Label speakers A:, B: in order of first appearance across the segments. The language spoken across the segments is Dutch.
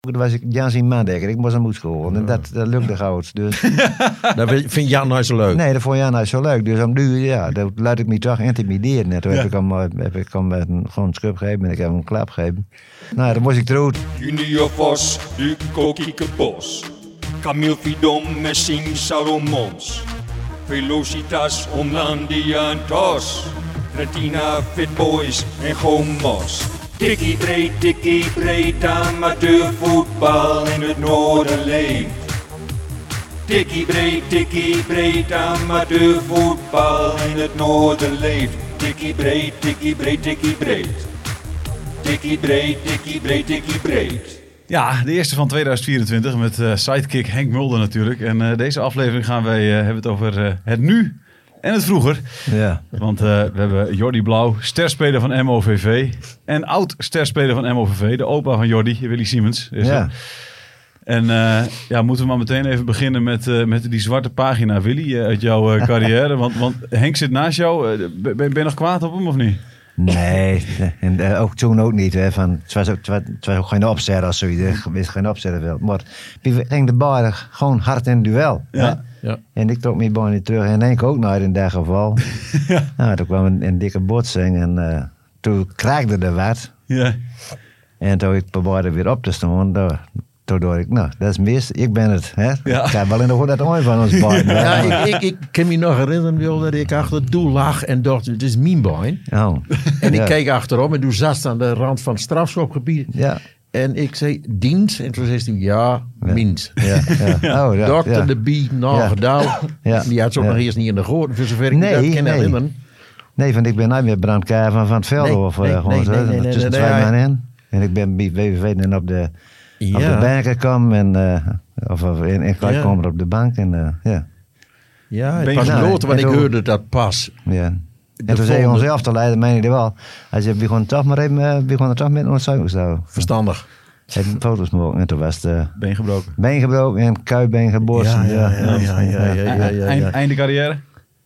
A: toen was ik Jan zien Maandekker. Ik moest hem moest gehoord. En dat, dat lukte gauw. Dus,
B: Dat vind Jan nou zo leuk.
A: nee, dat vond Jan nou zo leuk. Dus om nu, ja, dat laat ik me toch intimideren. Net. Toen
C: Ja.
A: heb ik hem, eh, heb ik hem eh, gewoon een schub gegeven en ik heb hem een klap gegeven. Nou, dan moest ik eruit.
D: Junior Vos, Duco Kiekebos, Camille Fidom, Messing Salomons, Velocitas, Omlandia en Tos, Retina, Fitboys en Gomos. Dikkie breed, dikkie breed, amateurvoetbal in het noorden leeft. Tikkie breed, tikkie breed, amateurvoetbal in het noorden leeft. Tikkie breed, tikkie breed, tikkie breed. Tikkie breed, tikkie breed, tikkie breed.
C: Ja, de eerste van 2024 met eh, sidekick Henk Mulder natuurlijk. En eh, deze aflevering gaan wij, eh, hebben het over eh, het nu en het vroeger.
A: Ja.
C: Want eh, we hebben Jordi Blauw, sterspeler van MOVV. En oud-sterspeler van MOVV, de opa van Jordi, Willy Siemens. Is
A: Ja.
C: er. En eh, ja, moeten we maar meteen even beginnen met, eh, met die zwarte pagina, Willy, eh, uit jouw eh, carrière. Want, want Henk zit naast jou. Eh, ben, ben je nog kwaad op hem of niet?
A: Nee, en eh, ook toen ook niet. Hè, van, het, was ook, het was- het was ook geen opzet als zoiets. hè. Het was geen opzet wel. Maar die ging de bal gewoon hard in het duel. hè.
C: Ja.
B: Ja.
A: En ik trok mijn bal niet terug. En Henk ook nooit in dat geval. nou, toen kwam een, een dikke botsing. En eh, toen kraakte er wat.
C: Ja.
A: En toen ik probeerde weer op dus te staan. Toen, toen dacht ik, nou, dat is mis. Ik ben het. Hè.
C: Ja.
A: Ik heb wel in de goede oor van ons beiden.
B: Ja, ik, ik, ik kan me nog herinneren Wil, dat ik achter het doel lag en dacht, het is mijn boy.
A: Oh.
B: En
A: Ja.
B: ik keek achterom en toen zat ze aan de rand van het strafschopgebied.
A: Ja.
B: En ik zei, dienst? En toen zei ze, ja, minst.
A: Ja, ja. Oh, ja,
B: Dokter
A: ja.
B: de Bie, nou
A: Ja.
B: gedaan.
A: Ja.
B: Die had ze ook
A: Ja.
B: nog eerst niet in de goot, voor zover ik
A: Nee,
B: me dat kan
A: nee.
B: herinneren.
A: Nee, want ik ben nooit meer brandkaar van Van het Veld
B: Nee,
A: of eh,
B: nee,
A: gewoon
B: nee,
A: zo.
B: nee, nee, nee,
A: tussen
B: nee,
A: twee
B: nee.
A: man in. En ik ben bij WVV dan op de, op de bank gekomen en, eh, of, of in, in
B: Ja.
A: komen op de bank en eh, ja.
B: Ja,
C: Ben
B: ik
C: je
B: was
C: nou,
B: groter, want
A: en
B: ik
A: hoe-
B: hoorde dat pas.
A: ja. En toen zei
B: volgende-
A: ons zelf te leiden, meen ik dat wel. Hij zei, we gaan toch maar even, eh, we gaan toch met ons zuigen zo.
B: Verstandig.
A: Even foto's maken en toen was het eh,
C: Ben gebroken.
A: been gebroken en kuitbeen geborsten. Ja,
B: ja, ja, ja, ja,
C: Eind-
B: ja.
C: Einde carrière?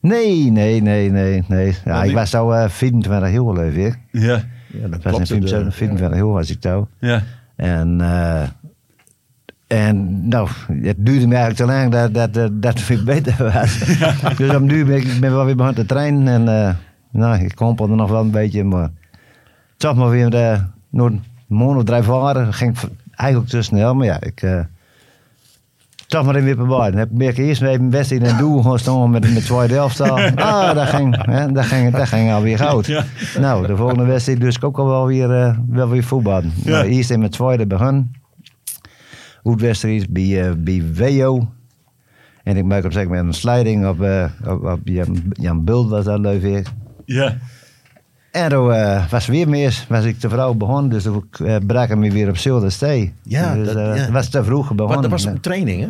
A: Nee, nee, nee, nee, nee. Ja,
C: Waarom
A: ik
C: niet?
A: was zo eh 24 heel leuk weer.
C: Ja.
B: Ja, dat
A: Ik was in
B: klopt. het, eh.
A: 24, 24 heel was ik touw.
C: Ja.
A: En, eh, en nou, het duurde me eigenlijk te lang dat, dat, dat, dat het weer beter was. Dus om nu ben ik ik ben wel weer begonnen te trainen. En eh, nou, ik kompelde nog wel een beetje. Maar toch maar weer eh nog een maand of drie varen. ging ik v- eigenlijk te snel. Maar ja, ik... eh, toch maar even weer proberen. Dan heb ik meer keer eerst even best in een doel gewoon staan met met tweede elftal. Ah, dat ging, hè, dat ging, dat ging alweer goud. Nou, de volgende wedstrijd dus ook al wel weer, eh, wel weer voetballen. Nou, eerst in mijn tweede begonnen. Hoedwedstrijd bij, eh, bij WO. En ik maak op zeg maar een sliding op, eh, op, op Jan, Jan Bult was dat leuk weer.
C: Ja.
A: En toen eh, was weer mis, was ik te vroeg begonnen, dus toen eh, brak ik me weer op Zilderstee.
B: Ja,
A: dus,
B: dat-
A: eh,
B: ja.
A: was te vroeg
B: Want
A: begonnen.
B: dat was
A: Nou.
B: een training, hè?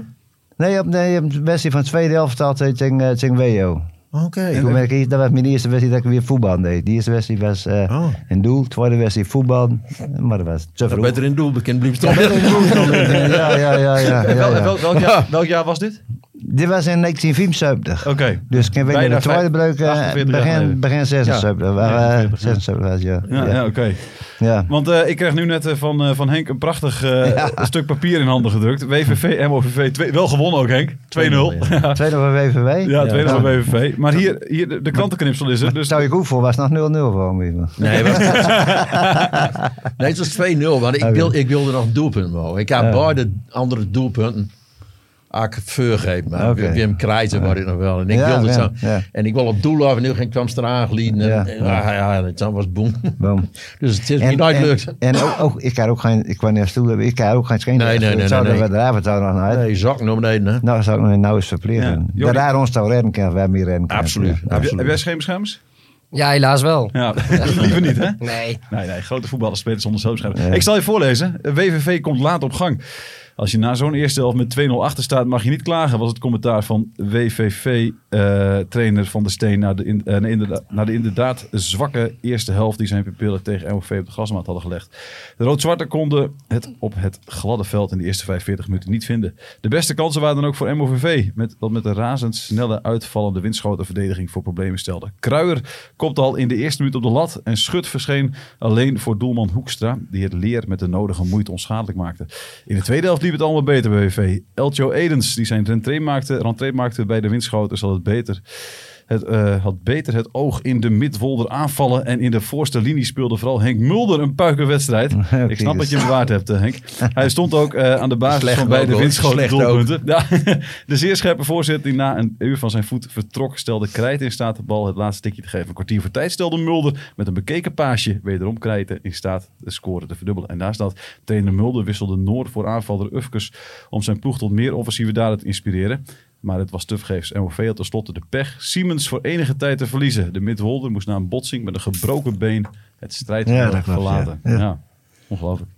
A: Nee, op, nee, op de wedstrijd van de tweede helft had ik tegen, eh, tegen WO.
B: Oké.
A: Toen ben ik, eerst- dat was mijn eerste wedstrijd dat ik weer voetbal deed. De eerste wedstrijd was eh
B: Oh.
A: in doel, tweede wedstrijd voetbal. Maar dat was te
B: Dat
A: vroeg.
B: beter in doel bekend blijft toch?
A: Ja, ja, ja. ja, ja,
C: Wel-
A: ja.
C: wel- welk, jaar, welk jaar was dit?
A: Dit was in 1974.
C: Oké.
A: Dus ik weet niet,
C: Bijna
A: de tweede
C: vijf-
A: breuk eh,
C: 48 jaar
A: begin,
C: geleden.
A: begin 76.
C: Ja,
A: waar, eh,
C: 49, ja.
A: 76 was, ja.
C: Ja, ja oké.
A: ja.
C: Want eh, ik kreeg nu net eh, van, eh, van Henk een prachtig eh, stuk papier in handen gedrukt. WVV, MOVV. twee- wel gewonnen ook, Henk. 2-0. Ja,
A: Tweede van WVW.
C: ja 2-0
A: Ja.
C: van WVV. Maar hier, hier de, de krantenknipsel is er. Dus,
A: Zou ik hoeven voor, was nog 0-0 voor me.
B: Nee, maar... nee, het was 2-0, want
C: Ah,
B: ik, wil, ik wilde nog een doelpunt maken. Ik had beide andere doelpunten. Ah, Ak vergeet maar.
A: Oké.
B: Wim Krijten was ik nog wel. En ik
A: Ja,
B: wilde
A: Wim,
B: zo.
A: ja.
B: En ik wil op doel af en nu ging kwam ze eraan gelieden. En,
A: Ja,
B: ja, ja. ja, en dan was boem.
A: Boom.
B: Dus het is niet uitgelukt.
A: En, en ook, ook, ik had ook geen, ik kwam naar stoel, ik had ook geen schijn.
B: Nee, nee, nee,
A: Zouden
B: nee,
A: we de avond zou nog naar uit.
B: Nee, zak naar beneden. Hè.
A: Nou, zou ik nog nou eens verplichten.
C: Ja. Jordi-
A: Dat daar ons zou redden kan, wij meer redden kan.
B: Absoluut.
A: Ja.
C: heb, je- heb jij schermbeschermers?
E: Ja, helaas wel.
C: Ja, liever niet hè?
E: Nee.
C: Nee, nee, grote voetballers spelen zonder schermbeschermers. Ik zal je voorlezen. WVV komt laat op gang. Als je na zo'n eerste helft met 2-0 achter staat, mag je niet klagen. Was het commentaar van WVV-trainer eh, Van der Steen naar de, in, eh, naar inderdaad- naar de inderdaad zwakke eerste helft die zijn pupillen tegen MOV op de grasmaat hadden gelegd. De rood-zwarte konden het op het gladde veld in de eerste 45 minuten niet vinden. De beste kansen waren dan ook voor MOVV, met, dat met een razendsnelle uitvallende windschotenverdediging voor problemen stelde. Kruijer kopte al in de eerste minuut op de lat en Schut verscheen alleen voor doelman Hoekstra, die het leer met de nodige moeite onschadelijk maakte. In de tweede helft liep het allemaal beter bij VV. Elcho Edens, die zijn rentree maakte, rentree maakte bij de windschoten, zal het beter het, eh, had beter het oog in de midwolder aanvallen. En in de voorste linie speelde vooral Henk Mulder een puikerwedstrijd. Ik snap dat je hem waard hebt, eh, Henk. Hij stond ook eh, aan de basis
B: Slecht
C: van beide
B: ook, hoor.
C: windschoten
B: Slecht ook.
C: doelpunten. Ja, de zeer scherpe voorzet die na een uur van zijn voet vertrok... stelde Krijt in staat de bal het laatste tikje te geven. Een kwartier voor tijd stelde Mulder met een bekeken paasje... wederom Krijten in staat de score te verdubbelen. En naast dat trainer Mulder wisselde Noord voor aanvaller Ufkes... om zijn ploeg tot meer offensieve daden te inspireren. Maar het was tevergeefs. MOV had tenslotte de pech Siemens voor enige tijd te verliezen. De midholder moest na een botsing met een gebroken been het
A: Ja,
C: strijdveld
A: dat klopt,
C: verlaten.
A: ja.
C: Ja.
A: Ja.
C: Ongelooflijk.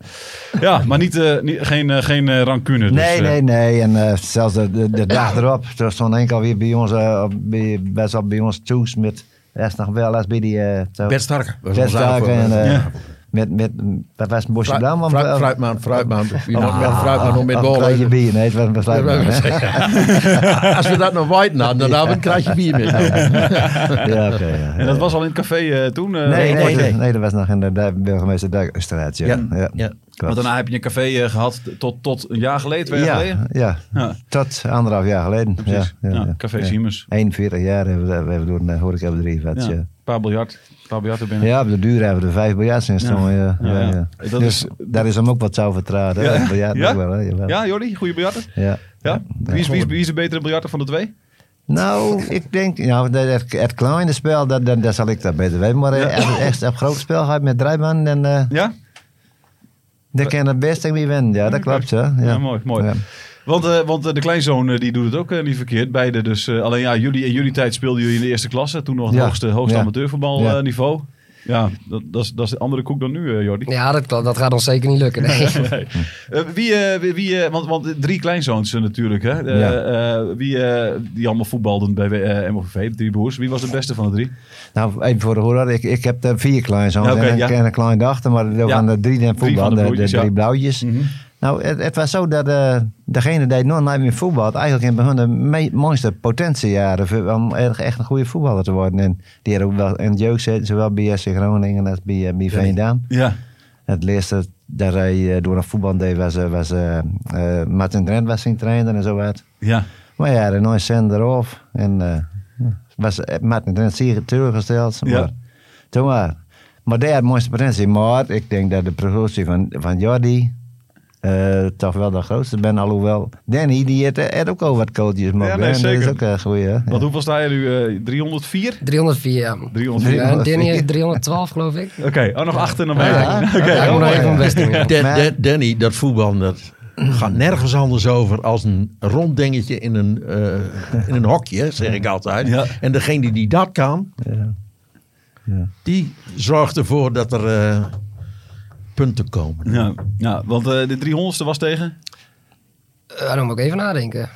C: Ja, maar niet, eh, niet- geen, eh, geen eh, rancune. dus,
A: Nee,
C: eh,
A: nee, nee. En eh, zelfs de, de, de dag erop, toen stond Henk alweer bij ons, eh, op- bij, best wel bij ons toes met, hij is nog wel eens bij die... eh, zo-
B: Bert Starke. was
A: Bert
B: onze
A: Starke en,
B: aanvoerder.
A: eh,
C: Ja.
A: met, met, dat was een bosje
B: Fruit-
A: blauw, eh, maar...
B: fruit- Fruitman, fruitman.
A: Ah,
B: Je mag wel fruitman om met
A: Een kratje
B: ballen.
A: bier, nee, het was een
B: Ja,
A: fruitman, hè?
B: Als we dat nog white hadden, dan hadden we een kratje bier mee.
A: Ja, oké, ja.
C: En dat was al in het café eh, toen? eh,
A: Nee,
B: nee,
A: nee, nee.
B: nee.
A: dat was nog in de Dijk- burgemeester Dijkstraat, ja.
B: Ja,
A: ja.
B: ja.
A: klopt.
C: Want daarna heb je een café eh, gehad tot, tot een jaar geleden, twee jaar
A: ja,
C: geleden?
A: ja.
C: Ja.
A: tot anderhalf jaar geleden. Ja,
C: Precies. Ja, Café Siemens.
A: 41 jaar hebben we, hebben we door een horecabedrijf gehad,
C: Ja,
A: ja.
C: Een paar biljart. Een paar biljarten binnen.
A: Ja, op de duur hebben we er vijf biljarts in staan. Ja. Ja,
C: Ja, ja.
A: ja.
C: Dat
A: dus
C: is-
A: daar is hem ook wat zou vertraden.
C: Ja.
A: Ja. Biljart
C: Ja?
A: ook wel, hè? Jawel.
C: Ja, Jordi, goede biljarten.
A: Ja.
C: Ja? Wie, is, wie, is, wie is de betere biljarter van de twee?
A: Nou, ik denk, nou, dat, het, het kleine spel, dat, dat, dat zal ik dat beter weten. Maar eh, als het echt op groot spel gaat met drie man, dan, eh
C: Ja?
A: dan kan het best wie winnen. Ja, dat klopt. hè. Ja,
C: Ja, mooi, mooi.
A: Ja.
C: Want, eh, want eh, de kleinzoon eh, die doet het ook eh, niet verkeerd. Beide dus. eh, alleen ja, jullie, in jullie tijd speelden jullie in de eerste klasse. Toen nog het
A: Ja,
C: hoogste, hoogste
A: ja. Ja.
C: amateurvoetbalniveau. Ja, dat, dat, is, dat is een andere koek dan nu, eh, Jordi.
E: Ja, dat, klopt. dat gaat ons zeker niet lukken. Nee.
C: Nee. Eh, wie, eh, wie- wie eh, want, want drie kleinzoons eh, natuurlijk, hè? Eh, eh, wie, eh, die allemaal voetbalden bij eh, MOVV, de drie broers. Wie was de beste van de drie?
A: Nou, even voor de hoor, ik, ik heb er vier kleinzoons
C: Ja, oké,
A: en een,
C: ja.
A: en een klein dochter, maar er
C: Ja.
A: waren er drie in
C: Drie
A: voetbal,
C: van
A: de, de,
C: de broertjes, ja. Mhm.
A: drie blauwtjes. Nou, het, het was zo dat eh, degene die nog nooit meer voetbalt, eigenlijk in bij hun de me- mooiste potentiejaren voor- om echt, echt een goede voetballer te worden. En die hadden ook wel in het jeugd zitten, zowel bij SC Groningen als bij, eh, bij Veendam.
C: Ja.
A: Het laatste dat hij eh, door een voetbal deed was, eh, was eh, eh, Martin Drent was zijn trainer en zo wat.
C: Ja.
A: Maar ja, er nooit zender af. En eh, was eh, Martin Drent zeer teruggesteld. Maar,
C: Ja.
A: toen maar. Maar daar had het mooiste potentie. Maar ik denk dat de progressie van, van Jordi eh, toch wel de grootste ben. Alhoewel, Danny die heeft, eh, heeft ook al wat kooltjes mogen.
C: Ja, nee,
A: hè. Dat is
C: zeker.
A: ook een goeie. hè.
C: Want hoeveel sta je nu? eh, 304?
E: 304, ja.
C: 304.
E: Ja, en Danny heeft 312, geloof ik.
C: Oké, oh, nog achter naar mij.
A: Ja.
C: Oké,
E: Ja, ik moet nog
A: mooi.
E: even mijn best doen. ja.
B: Dan-
A: Maar-
B: Dan- Danny, dat voetbal, dat gaat nergens anders over als een rond dingetje in een, eh, in een hokje, zeg ik altijd.
C: Ja.
B: En degene die dat kan,
A: Ja.
B: die zorgt ervoor dat er eh, punten komen.
C: Ja, ja, want eh, de 300ste was tegen?
E: Eh, dan moet ik even nadenken.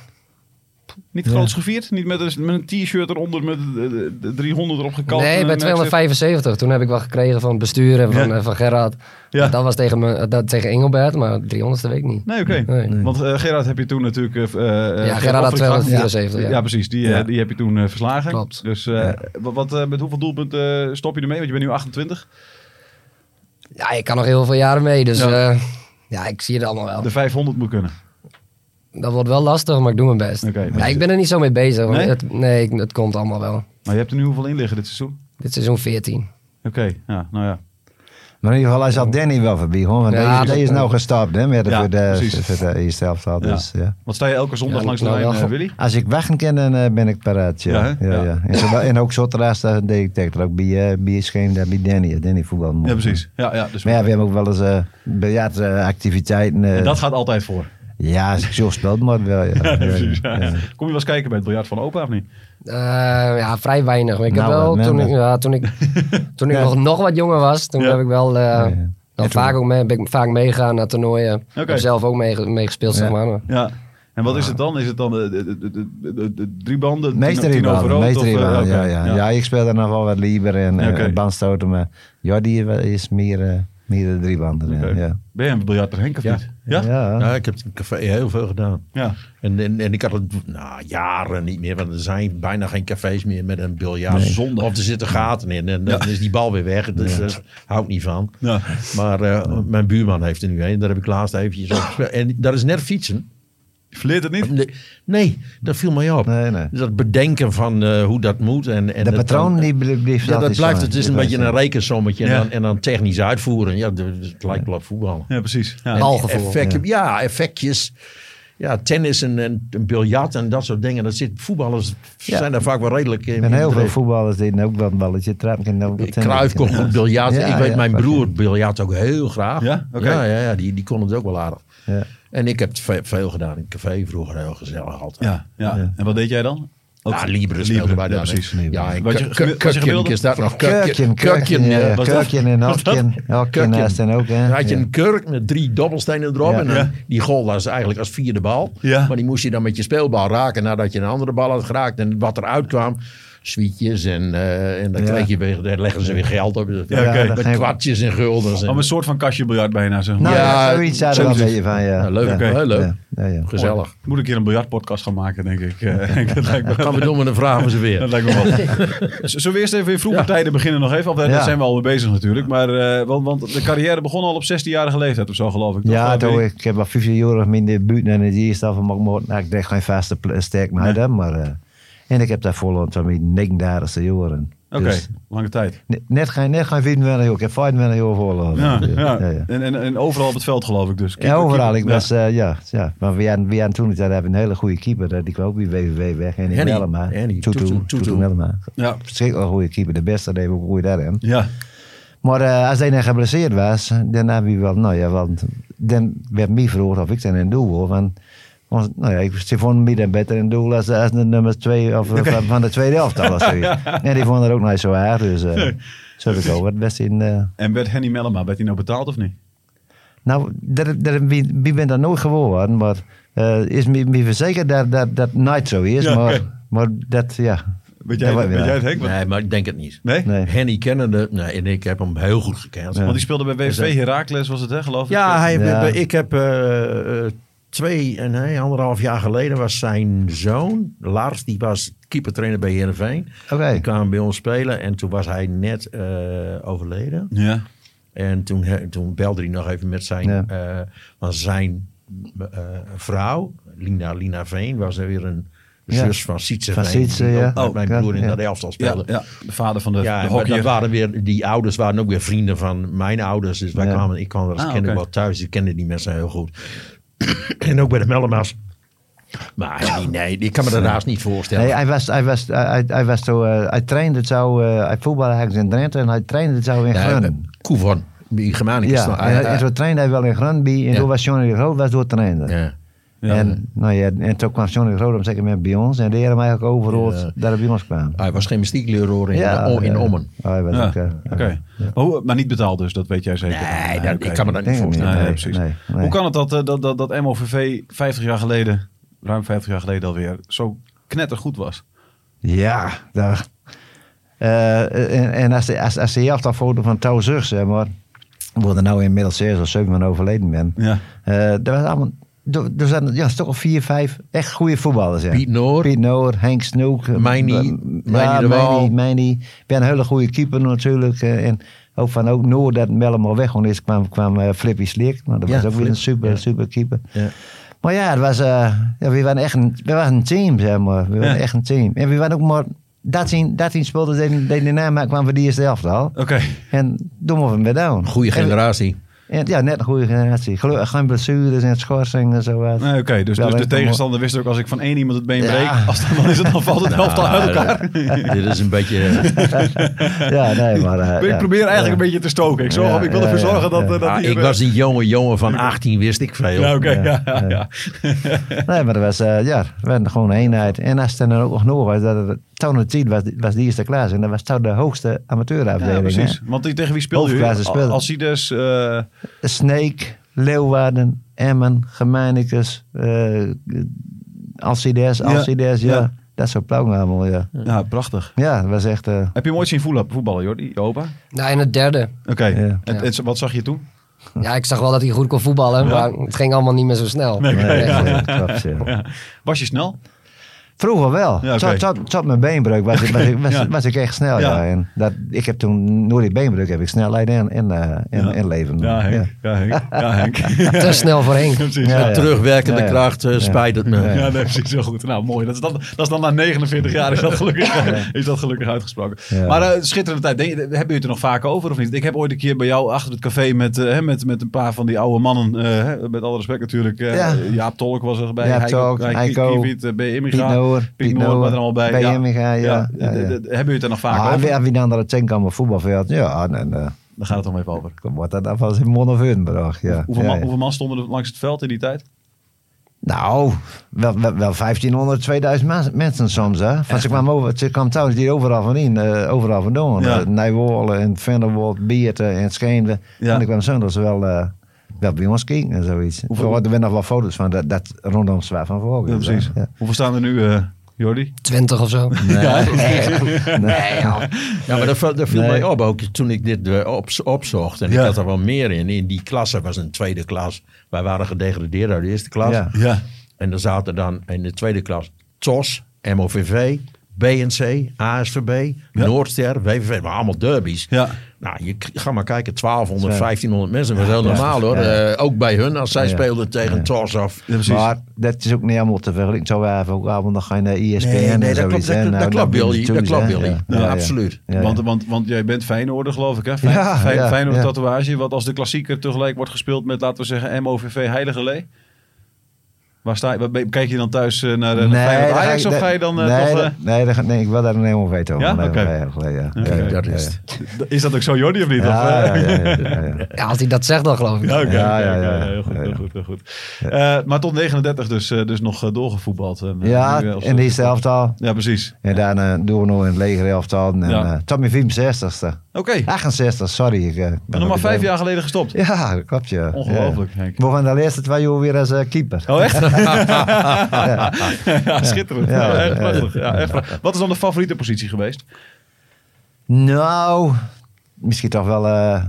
C: Niet groots gevierd? Niet met een, met een t-shirt eronder met eh, de, de 300 erop gekald?
E: nee,
C: en
E: bij
C: een extra-
E: 275. Toen heb ik wel gekregen van het bestuur en van,
C: Ja.
E: eh, van Gerard.
C: Ja.
E: Dat was tegen, me, eh, dat, tegen Engelbert, maar 300ste weet ik niet.
C: Nee, oké.
E: Nee. Nee.
C: Want eh, Gerard heb je toen natuurlijk... eh, eh,
E: Ja,
C: eh,
E: Gerard had
C: Offrey gehad.
E: 274,
C: Ja,
E: ja.
C: precies. Die, eh,
A: Ja.
C: die heb je toen eh, verslagen.
E: Klopt.
C: Dus eh, wat, wat, eh, met hoeveel doelpunten eh, stop je ermee? Want je bent nu 28.
E: Ja, ik kan nog heel veel jaren mee, dus
C: Ja.
E: ja, ja ik zie het allemaal wel.
C: De 500 moet kunnen.
E: Dat wordt wel lastig, maar ik doe mijn best.
C: Oké, maar-
E: ja, ik ben er niet zo mee bezig. want
C: Nee?
E: Het, nee, ik- het komt allemaal wel.
C: Maar je hebt er nu hoeveel in liggen dit seizoen?
E: Dit seizoen 14.
C: Oké, ja, nou ja.
A: Maar in ieder geval, hij zal Danny wel voorbij. Hoor, want
E: Ja,
A: die, is- die is nou gestapt hè, met de,
C: Ja,
A: voor de,
C: precies.
A: voor de eerste helft al. Dus, ja.
C: Wat sta je elke zondag
E: Ja,
C: langs de
E: nou
C: lijn,
E: wel.
C: eh, Willy?
A: Als ik wachten kan, dan eh, ben ik paraat. Ja.
C: Ja,
A: Ja,
C: hè?
A: ja,
C: Ja.
A: En, zo- en ook zo terras, daar deed ik tegen. Ook bij, eh bij Scheen, daar bij Danny. Danny voetbal.
C: Ja, precies. Ja, ja, dus,
A: Maar ja, we hebben ook wel eens eh biljartactiviteiten.
C: en dat gaat altijd voor.
A: Ja, als ik zo speelt, maar wel. Ja, ja,
C: Precies,
A: ja.
C: ja. Kom je wel eens kijken bij het biljart van opa of niet?
E: Eh, ja, vrij weinig. Maar ik
A: Nou,
E: heb wel,
A: wat
E: toen ik,
A: minder.
E: ja, toen ik, toen ik nog, nog wat jonger was, toen
C: Ja.
E: heb ik wel... eh,
A: ja.
E: dan Dan
A: En toen-
E: vaak ook mee, ben ik vaak meegegaan naar toernooien. Ik heb zelf ook meege- meegespeeld,
A: Ja.
E: zeg maar. maar.
C: Ja. En wat is het dan? Is het dan eh, de, de, de, de, de- de drie banden?
A: Meester
C: tien- tien
A: Riemann,
C: overal,
A: meester
C: of, eh,
A: Riemann,
C: oké,
A: ja, ja. ja, ik speelde nog wel wat liever en
C: Ja,
A: eh
C: oké.
A: bandstoten, maar Jordi is meer, eh, meer de driebanden.
C: Oké.
A: eh, Ja.
C: Ben jij een biljarter Henk of
B: Ja.
C: niet? Ja? ja.
A: Ja.
B: Ja, ik heb in café heel veel gedaan. En, en, en ik had het nou, jaren niet meer, want er zijn bijna geen cafés meer met een biljart.
C: Nee. Zonde.
B: Of er zitten gaten in en dan is die bal weer weg. Dus daar hou ik niet van.
C: Ja.
B: Maar eh, mijn buurman heeft er nu een. Daar heb ik laatst eventjes op gespeeld. En dat is net fietsen.
C: Je verleert het niet?
B: Nee, Nee, dat viel mij op.
A: Nee, nee.
B: Dat bedenken van eh, hoe dat moet. En, en
A: De
B: dat
A: patroon
B: dan-
A: die eh, bl- blijft
B: Ja, dat
A: altijd
B: blijft.
A: zo.
B: Het is
A: Die
B: een beetje
A: blijft
B: een rekensommetje en,
C: Ja.
B: dan, en dan technisch uitvoeren. Ja, dat- het lijkt wel op voetballen.
C: Ja, precies. Ja.
E: Bal. Balgevoel.
B: Effect- ja. effectjes. Ja, tennis en, en, en biljart en dat soort dingen. Dat zit, voetballers
A: Ja.
B: zijn daar vaak wel redelijk
A: En
B: in.
A: heel veel
B: bedreven.
A: voetballers deden ook wel een balletje trappen. en ook wat
B: Cruijff kon goed biljart.
A: Ja,
B: ik weet,
A: ja,
B: mijn
A: fucking.
B: broer biljart ook heel graag.
C: Ja? Oké.
B: ja, ja, ja, die, die kon het ook wel aardig.
A: Ja.
B: En ik heb het ve- veel gedaan in het café vroeger. Heel gezellig altijd.
C: Ja, ja. En wat deed jij dan? Ook-
B: Ja, Libre speelde bij
C: ja,
B: dat.
C: precies.
B: Ja, en
C: Wat je- wat je
B: Kuk- Kukjen
C: gemiddelde-
B: is dat nog.
A: Kurkjen, Kurkjen,
B: ja.
A: ja,
C: was dat?
A: Kurkjen en Hopkin. Hopkin
B: Kurkjen.
A: naast hen ook, hè.
B: Dan had je
A: Ja.
B: een kurk met drie dobbelstenen erop.
A: Ja.
B: En dan-
C: Ja.
B: die goal was eigenlijk als vierde bal.
C: Ja.
B: Maar die moest je dan met je speelbal raken nadat je een andere bal had geraakt. En wat eruit kwam, zwietjes en, eh, en dan
A: Ja.
B: kreeg je weer, daar leggen ze weer geld op.
C: Ja, oké.
B: Met kwartjes en guldens. En,
C: Oh, een soort van kastje biljart bijna, zeg maar.
A: Nou
B: Ja,
A: ja, zoiets daar wel een
C: zoiets.
A: beetje van, ja.
B: Ja, Nou, leuk,
A: Ja.
C: oké.
B: heel leuk.
A: Ja, ja, ja.
B: Gezellig.
C: Moet ik hier een biljartpodcast gaan maken, denk ik. Eh, dat lijkt me
B: Gaan we doen met een vraag ze
C: Dat
B: weer.
C: lijkt me wel. Z- Zullen we eerst even in vroege
B: Ja.
C: tijden beginnen nog even? Want daar
A: Ja.
C: zijn we al mee bezig natuurlijk. Maar, eh, want, want de carrière begon al op 16-jarige leeftijd of zo, geloof ik. toch?
A: Ja,
C: Of weet
A: toch,
C: ik-
A: ik heb al 15 jaar of minder in de buurt en in de eerste helft van mijn nou, Ik deed geen vaste pl- sterk naar
C: Nee.
A: dat, maar... eh, en ik heb daar volop van mijn 39 jaren.
C: Oké,
A: Dus
C: lange tijd.
A: ne- net geen, net geen 24 jaar, ik heb 25 jaar volgehouden.
C: Ja, ja.
A: ja, ja.
C: En, en, en overal op het veld, geloof ik dus.
A: Ja,
C: Keeper,
A: overal.
C: keeper.
A: Ik
C: Ja.
A: was, eh, ja, ja. Maar we hadden, we hadden toen we hebben een hele goede keeper. eh, Die kwam ook bij WVW weg. En in
B: Henny,
A: Mellema.
B: Henny,
A: Tutu.
B: Tutu,
A: Tutu
B: Tutu.
A: Mellema.
C: Ja.
A: Verschrikkelijk goede keeper. De beste deed ook goed daarin.
C: Ja,
A: Maar eh, als hij dan geblesseerd was, dan heb je wel, nou ja, want dan werd mij verhoord of ik dan in doel wil. Want, want, nou ja, ik ze vonden mij dan beter in doel als, als de nummer twee of, van, van de tweede helft. al was zoiets. en die vonden het ook niet zo erg. Dus eh zo heb ik ook wat best in. eh,
C: en werd Henny Mellema, werd hij nou betaald of niet?
A: nou, dat, dat, wie, wie ben dat nooit geworden, maar eh, is me, me verzekerd dat dat, dat nooit zo is.
C: Ja,
A: maar,
C: oké.
A: maar dat, ja.
C: Weet jij,
A: dat
C: weet jij het,
A: niet.
C: Henk? Want-
B: Nee, maar ik denk het niet.
C: Nee?
A: Nee.
B: Henny kennende, nee, en ik heb hem heel goed gekend.
C: Want die speelde bij WSV Heracles, was het hè, geloof ik?
B: Ja, hij,
A: Ja.
B: ik heb eh, eh, twee, eh, nee, anderhalf jaar geleden was zijn zoon, Lars, die was keepertrainer bij Heerenveen.
A: Oké.
B: Die kwam bij ons spelen en toen was hij net eh, overleden.
C: Ja.
B: En toen, he- toen belde hij nog even met zijn,
A: Ja.
B: eh, want zijn eh, vrouw, Lina, Lina Veen, was er weer een
A: Ja.
B: zus van Sietse
A: Van
B: Veen.
A: Sietse,
B: die
A: ja.
B: ook met
A: Oh,
B: mijn
A: ja,
B: broer in
A: ja.
B: dat elftal
C: Ja,
B: speelde.
C: ja, de vader van de,
B: Ja,
C: de
B: maar dat
C: hockeyer.
B: waren weer, die ouders waren ook weer vrienden van mijn ouders. Dus wij
A: Ja.
B: kwamen, ik kwam er als
C: Ah,
B: kind ook
C: oké.
B: wel thuis. Ik kende die mensen heel goed. en ook bij de Mellema's. Maar nee, nee, ik kan me dat haast niet voorstellen.
A: Nee, hij was, hij was, hij, hij was zo, eh, hij trainde het zo, eh, hij voetbalde eigenlijk in Drenthe en hij trainde het zo in Groningen.
B: Koevan, die Germanicus.
A: Ja,
B: nou,
A: en, hij- en zo trainde hij wel in Groningen en
B: Ja.
A: toen was Johnny de Groot was door trainer.
B: ja.
A: En, nou ja, en toen kwam Johnny de Groot om zeker met bij ons en die hebben hem eigenlijk overal
B: Ja.
A: daar bij ons kwamen.
B: Hij was gymnastiekleraar in, in,
A: ja.
B: Ommen.
A: Ja, hij was
C: Ja,
A: ook, eh,
C: oké. Maar, hoe- maar niet betaald dus, dat weet jij zeker?
B: Nee, dat,
C: oké.
B: ik kan me dat niet
A: Denk ik
B: voorstellen.
A: niet.
C: Nee,
A: Nee,
C: precies.
A: nee, nee.
C: Hoe kan het dat, eh, dat, dat, dat MOVV 50 jaar geleden, ruim 50 jaar geleden alweer, zo knettergoed was?
A: Ja, daar. Eh, en, en als de, als, als de helft foto van Touw Zug, zeg maar, worden nou inmiddels zes of zeven man overleden ben.
C: Ja.
A: Eh, er was allemaal, er er zijn ja, een stuk of vier, vijf echt goede voetballers. Ja.
B: Piet Noor.
A: Piet Noor, Henk Snoek. eh,
B: Meini,
A: eh,
B: Meini de Waal.
A: Meini, Meini. Ik ben een hele goede keeper natuurlijk. eh, en ook van ook Noor dat Mellemaal weg gewoon is, kwam, kwam eh, Flippy Slik. Maar dat
B: Ja,
A: was ook weer een
B: Flip,
A: super,
B: ja.
A: super keeper.
B: Ja.
A: Maar ja, het was, eh, ja, we waren echt een, we waren een team, zeg maar. We waren
C: Ja.
A: echt een team. En we waren ook maar... 13, 13 speelden deden deden de naam, maar kwamen we die eerste helft al.
C: Oké.
A: En toen mochten we weer down.
B: Goede
A: En-
B: generatie.
A: en, ja, net een goede generatie. Gelukkig geen blessures en schorsingen en zo. wat.
C: Nee, Oké, dus,
A: Wel
C: dus de
A: even
C: tegenstander wist ook als ik van één iemand het been
A: Ja.
C: breek, als dan, dan is het dan valt het helft al
A: Ah,
C: uit
B: Nou,
C: elkaar.
B: eh, dit is een beetje...
A: Ja, nee, maar... eh,
C: ik
A: ja.
C: probeer eigenlijk
A: Ja.
C: een beetje te stoken. Ik, zorg,
A: Ja,
C: ik wil
A: ja,
C: ervoor
A: ja,
C: zorgen dat... eh, dat
B: Ah,
C: die-
B: ik was een jonge jongen van 18, wist ik veel.
C: Ja, oké. ja,
A: Ja,
C: ja, ja.
A: Nee, maar dat was, eh, ja, we hadden gewoon een eenheid. En als het dan ook nog was, dat het toen een tijd was, was de eerste klasse. En dat was toen de hoogste amateurafdeling.
C: Ja, precies.
A: hè.
C: Want die- tegen wie speelde u?
A: Hoofdklasse speelde.
C: Als hij dus... eh,
A: Sneek, Leeuwarden, Emmen, Gemeinicus, eh Alcides,
C: Ja,
A: Alcides, ja.
C: ja.
A: Dat soort ploegen allemaal, ja.
C: ja, prachtig.
A: Ja, dat was echt... eh,
C: Heb je hem ooit zien voetla- voetballen, Jordi? Je opa?
E: Nou, en het derde.
C: Oké.
A: Ja.
C: En,
E: Ja.
C: en wat zag je toen?
E: Ja, ik zag wel dat hij goed kon voetballen, maar het ging allemaal niet meer zo snel.
A: nee,
E: Nee.
A: ja, klopt, ja.
C: Was je snel?
A: Vroeger wel.
C: Ja, oké.
A: tot, tot, tot mijn beenbreuk was, ik- was, ik- was,
C: Ja.
A: was ik echt snel.
C: Ja.
A: Ja. En dat, ik heb toen, door die beenbreuk heb ik snelheid en, en, eh en,
C: Ja.
A: en leven.
C: Ja, Henk. Ja, Henk. Ja, Henk.
E: eh, Te snel voor Henk.
C: precies.
A: Ja, ja.
B: Terugwerkende
A: Ja, ja.
B: kracht, eh,
A: Ja.
B: spijt het me.
A: Ja.
C: Ja, nee, precies. Heel goed. Nou, mooi. Dat is dan, dat is dan na 49 jaar is dat gelukkig, is dat gelukkig uitgesproken.
A: Ja.
C: Maar eh, schitterende tijd. Denk, je- hebben jullie het er nog vaak over of niet? Ik heb ooit een keer bij jou achter het café met, eh, hè, met, met een paar van die oude mannen. eh, hè, met alle respect natuurlijk. eh,
A: Ja.
C: Jaap Tolk was er bij.
A: Jaap
C: Heiko-
A: Tolk,
C: Heiko
A: Heiko,
C: Kiewiet, eh, B.
A: Piet
C: Immiga.
A: Noor,
C: Piet Noor waren er allemaal bij.
A: Bij
C: ja.
A: hem gaan, ja.
C: d-
A: ja, ja.
C: d- d- Hebben jullie het er nog vaak
A: Ah,
C: over?
A: wie, wie dan dat het zinken aan mijn voetbalveld? Ja, en, en eh,
C: Daar gaat het om even over.
A: wordt dat dan van zijn mond of hun bedrag. Ja.
C: Hoeveel,
A: ja,
C: man,
A: ja.
C: hoeveel man stonden er langs het veld in die tijd?
A: Nou, wel, wel, wel 1500, 2000 ma- mensen soms. Hè? Van, ze kwam over, ze kwam trouwens die overal van in, eh, overal vandaan.
C: Ja.
A: Ja. en Venderwold, Beerten en Scheemden.
C: Ja.
A: En ik kwam zondags wel, eh, wel bij ons kijken en zoiets.
C: Hoeveel-
A: Er worden nog wel foto's van dat, dat rondom zwaar van voor.
C: Ja, precies.
A: Ja.
C: Hoeveel staan er nu, eh, Jordi?
E: Twintig of zo. Nee, joh.
B: Ja, maar dat, viel- dat viel
A: Nee.
B: mij op ook toen ik dit eh, op, opzocht. En
C: Ja.
B: ik had er wel meer in. In die klasse was een tweede klas. Wij waren gedegradeerd uit de eerste klas.
A: Ja.
C: Ja.
B: En er zaten dan in de tweede klas TOS, MOVV, BNC, ASVB,
C: Ja.
B: Noordster, WVV. Maar allemaal derbies.
C: Ja.
B: Nou, je k- ga maar kijken. 1200, 1500 mensen. Dat was heel normaal hoor.
A: Ja.
B: Eh, ook bij hun als zij
A: Ja.
B: speelden tegen TOS of...
C: Ja, precies.
A: Maar dat is ook niet allemaal te vergelijken. Zo hebben ook allemaal nog geen eh, ESPN
B: Nee, nee,
A: en
B: dat klopt,
A: zoiets.
B: dat,
A: hè.
B: klopt,
A: Nou,
B: dat klopt,
A: doen
B: Billy.
A: ze toen,
B: Dat klopt,
A: hè.
B: Billy.
A: Ja.
B: Ja,
A: Ja, ja.
B: absoluut.
A: Ja, ja.
C: want, Want, want jij bent Feyenoorder, geloof ik, hè? Fijn,
A: Ja,
C: Fijn-
A: ja,
C: Feyenoord
A: ja.
C: tatoeage. Wat als de klassieker tegelijk wordt gespeeld met, laten we zeggen, MOVV Heiligerlee? Waar sta je? waar ben- Kijk je dan thuis eh, naar de
A: Nee,
C: Feyenoord
A: dan ga
C: Ajax
A: ik-
C: of ga je dan eh,
A: nee,
C: toch,
A: dat- nee, dat ga- nee, ik wil daar een helemaal weten over.
C: Ja?
A: Nee,
C: Oké.
A: nee, ja, ja,
C: Oké,
A: ja,
B: dat
A: ja,
B: is
A: ja.
B: het.
C: eh, is dat ook zo, Jordi, of niet? Of, eh,
A: Ja, ja, ja, ja, ja.
E: Ja, als hij dat zegt dan geloof ik.
C: Ja, oké.
A: Ja,
C: oké,
A: ja,
C: oké,
A: ja,
C: ja,
A: ja.
C: Heel goed,
A: Ja,
C: heel
A: ja.
C: goed, heel goed. Eh, maar tot 39 dus, eh, dus nog eh, doorgevoetbald. En, eh,
A: Ja,
C: nu, eh, als-
A: in de eerste elftal.
C: Ja, precies.
A: En daarna doen we nog in het leger elftal. En,
C: Ja.
A: eh, tot mijn 64ste.
C: Oké,
A: 68, sorry. Ik, eh, ben
C: nog maar
A: even-
C: vijf jaar geleden gestopt.
A: Ja, dat klopt ja.
C: Ongelooflijk,
A: Ja.
C: Henk.
A: We gaan de eerste twee jaar weer als eh, keeper.
C: Oh, echt? ja, schitterend. Ja,
A: Ja, ja,
C: echt
A: ja.
C: prachtig. Ja, echt prachtig. Wat is dan de favoriete positie geweest?
A: Nou, misschien toch wel... eh,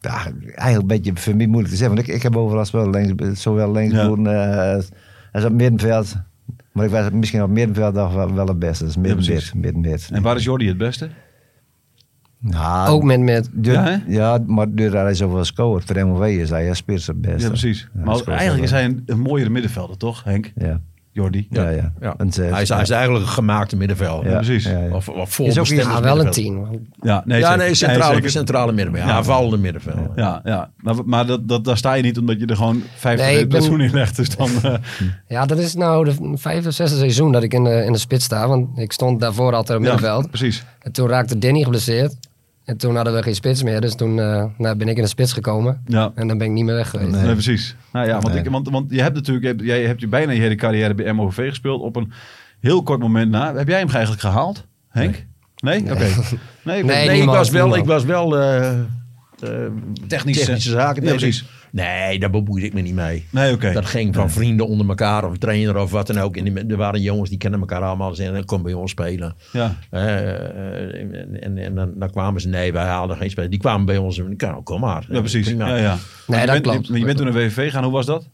A: ja, eigenlijk een beetje voor mij moeilijk te zeggen. Want ik, ik heb overal wel links, zowel linksboeren eh, als- als op middenveld. Maar ik was misschien op middenveld nog wel, wel het beste. Dus middenmid,
C: precies.
A: middenmid.
C: En waar is Jordi het beste?
A: Nou,
E: Ook met met.
A: Door-
C: Ja,
A: ja,
C: hè?
A: maar doordat hij zoveel scoort voor MOW is hij een spits het beste.
C: Ja, precies.
A: Ja,
C: maar
A: hij scoort
C: eigenlijk is
A: wel.
C: hij een, een mooiere middenvelder, toch, Henk?
A: Ja,
C: Jordi?
A: ja, ja.
B: Ja.
A: Een zes,
B: hij, is,
A: ja.
B: hij is eigenlijk een gemaakte middenvelder.
C: Ja, precies.
B: Of, of
A: Is ook
B: voorbestemd
A: iets-
E: Ja, wel een tien.
C: Ja, nee,
B: ja,
C: zeker.
B: nee, centrale,
C: zeker.
B: centrale middenvelder. Ja, aanvallende middenvelder.
C: Ja, ja. maar, maar dat, dat, daar sta je niet omdat je er gewoon 50
E: Nee,
C: nee,
E: ik ben-
C: in legt. Dus dan, eh,
E: Ja, dat is nou de vijfde of zesde seizoen dat ik in de, in de spits sta. Want ik stond daarvoor altijd op
C: ja,
E: middenveld.
C: Precies.
E: En toen raakte Danny geblesseerd. En toen hadden we geen spits meer. Dus toen eh, nou, ben ik in de spits gekomen.
C: Ja.
E: En dan ben ik niet meer weg geweest.
C: Nee, precies. Nou ja, want,
A: Nee.
C: ik, want, want je hebt natuurlijk, je hebt- jij hebt je bijna je hele carrière bij MOV gespeeld. Op een heel kort moment na. Heb jij hem eigenlijk gehaald, Henk? Nee? Oké. Nee, ik-
E: Nee,
B: Nee, ik
E: niemand,
B: was wel, ik
E: niemand.
B: was wel eh, eh, technische, zaken.
C: Ja,
B: Nee,
C: precies.
B: Nee, daar bemoeide ik me niet mee.
C: Nee, oké.
B: Dat ging van vrienden onder elkaar of trainer of wat dan ook. En die- er waren jongens die kennen elkaar allemaal. Ze zeiden, kom bij ons spelen.
C: Ja.
B: Eh, en en, en dan, dan kwamen ze, nee, wij halen geen spelen. Die kwamen bij ons en nou, kom maar.
C: Ja, precies.
B: Prima.
C: Ja, ja. Maar je
E: dat
C: bent,
E: klopt.
C: Je, maar je bent toen naar WVV gaan. Hoe was dat?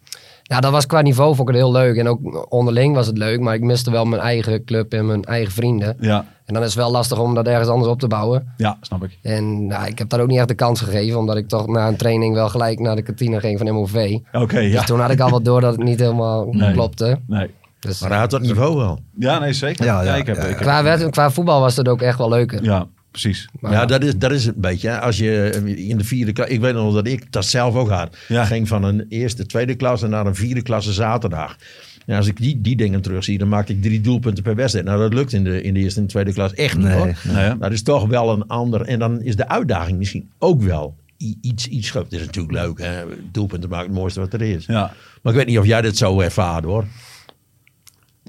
E: Nou, dat was qua niveau vond ik het heel leuk. En ook onderling was het leuk. Maar ik miste wel mijn eigen club en mijn eigen vrienden.
C: Ja.
E: En dan is het wel lastig om dat ergens anders op te bouwen.
C: Ja, snap ik.
E: En nou, ik heb daar ook niet echt de kans gegeven. Omdat ik toch na een training wel gelijk naar de kantine ging van MOV.
C: Oké, Oh, ja.
E: Dus toen had ik al wat door dat het niet helemaal klopte.
C: Nee. eh,
E: Dus
B: Maar hij had dat niveau wel.
C: Ja, nee, zeker. Ja,
A: Ja, ja,
C: ik heb,
A: ja,
C: ik heb-
E: qua, wed- qua voetbal was dat ook echt wel leuker.
C: ja precies.
E: Maar
B: ja, dat is, dat is het een beetje. hè. Als je eh, in de vierde klas, ik weet nog dat ik dat zelf ook had.
C: Ja.
B: Ging van een eerste, tweede klasse naar een vierde klasse zaterdag. En als ik die, die dingen terugzie, dan maakte ik drie doelpunten per wedstrijd. Nou, dat lukt in de, in de eerste en de tweede klas echt niet
A: Nee,
B: hoor.
C: nee. Nee, hè?
B: Dat is toch wel een ander. En dan is de uitdaging misschien ook wel i- iets, iets groot. Het is natuurlijk leuk, hè? doelpunten maken het mooiste wat er is.
C: Ja.
B: Maar ik weet niet of jij dat zo ervaart hoor.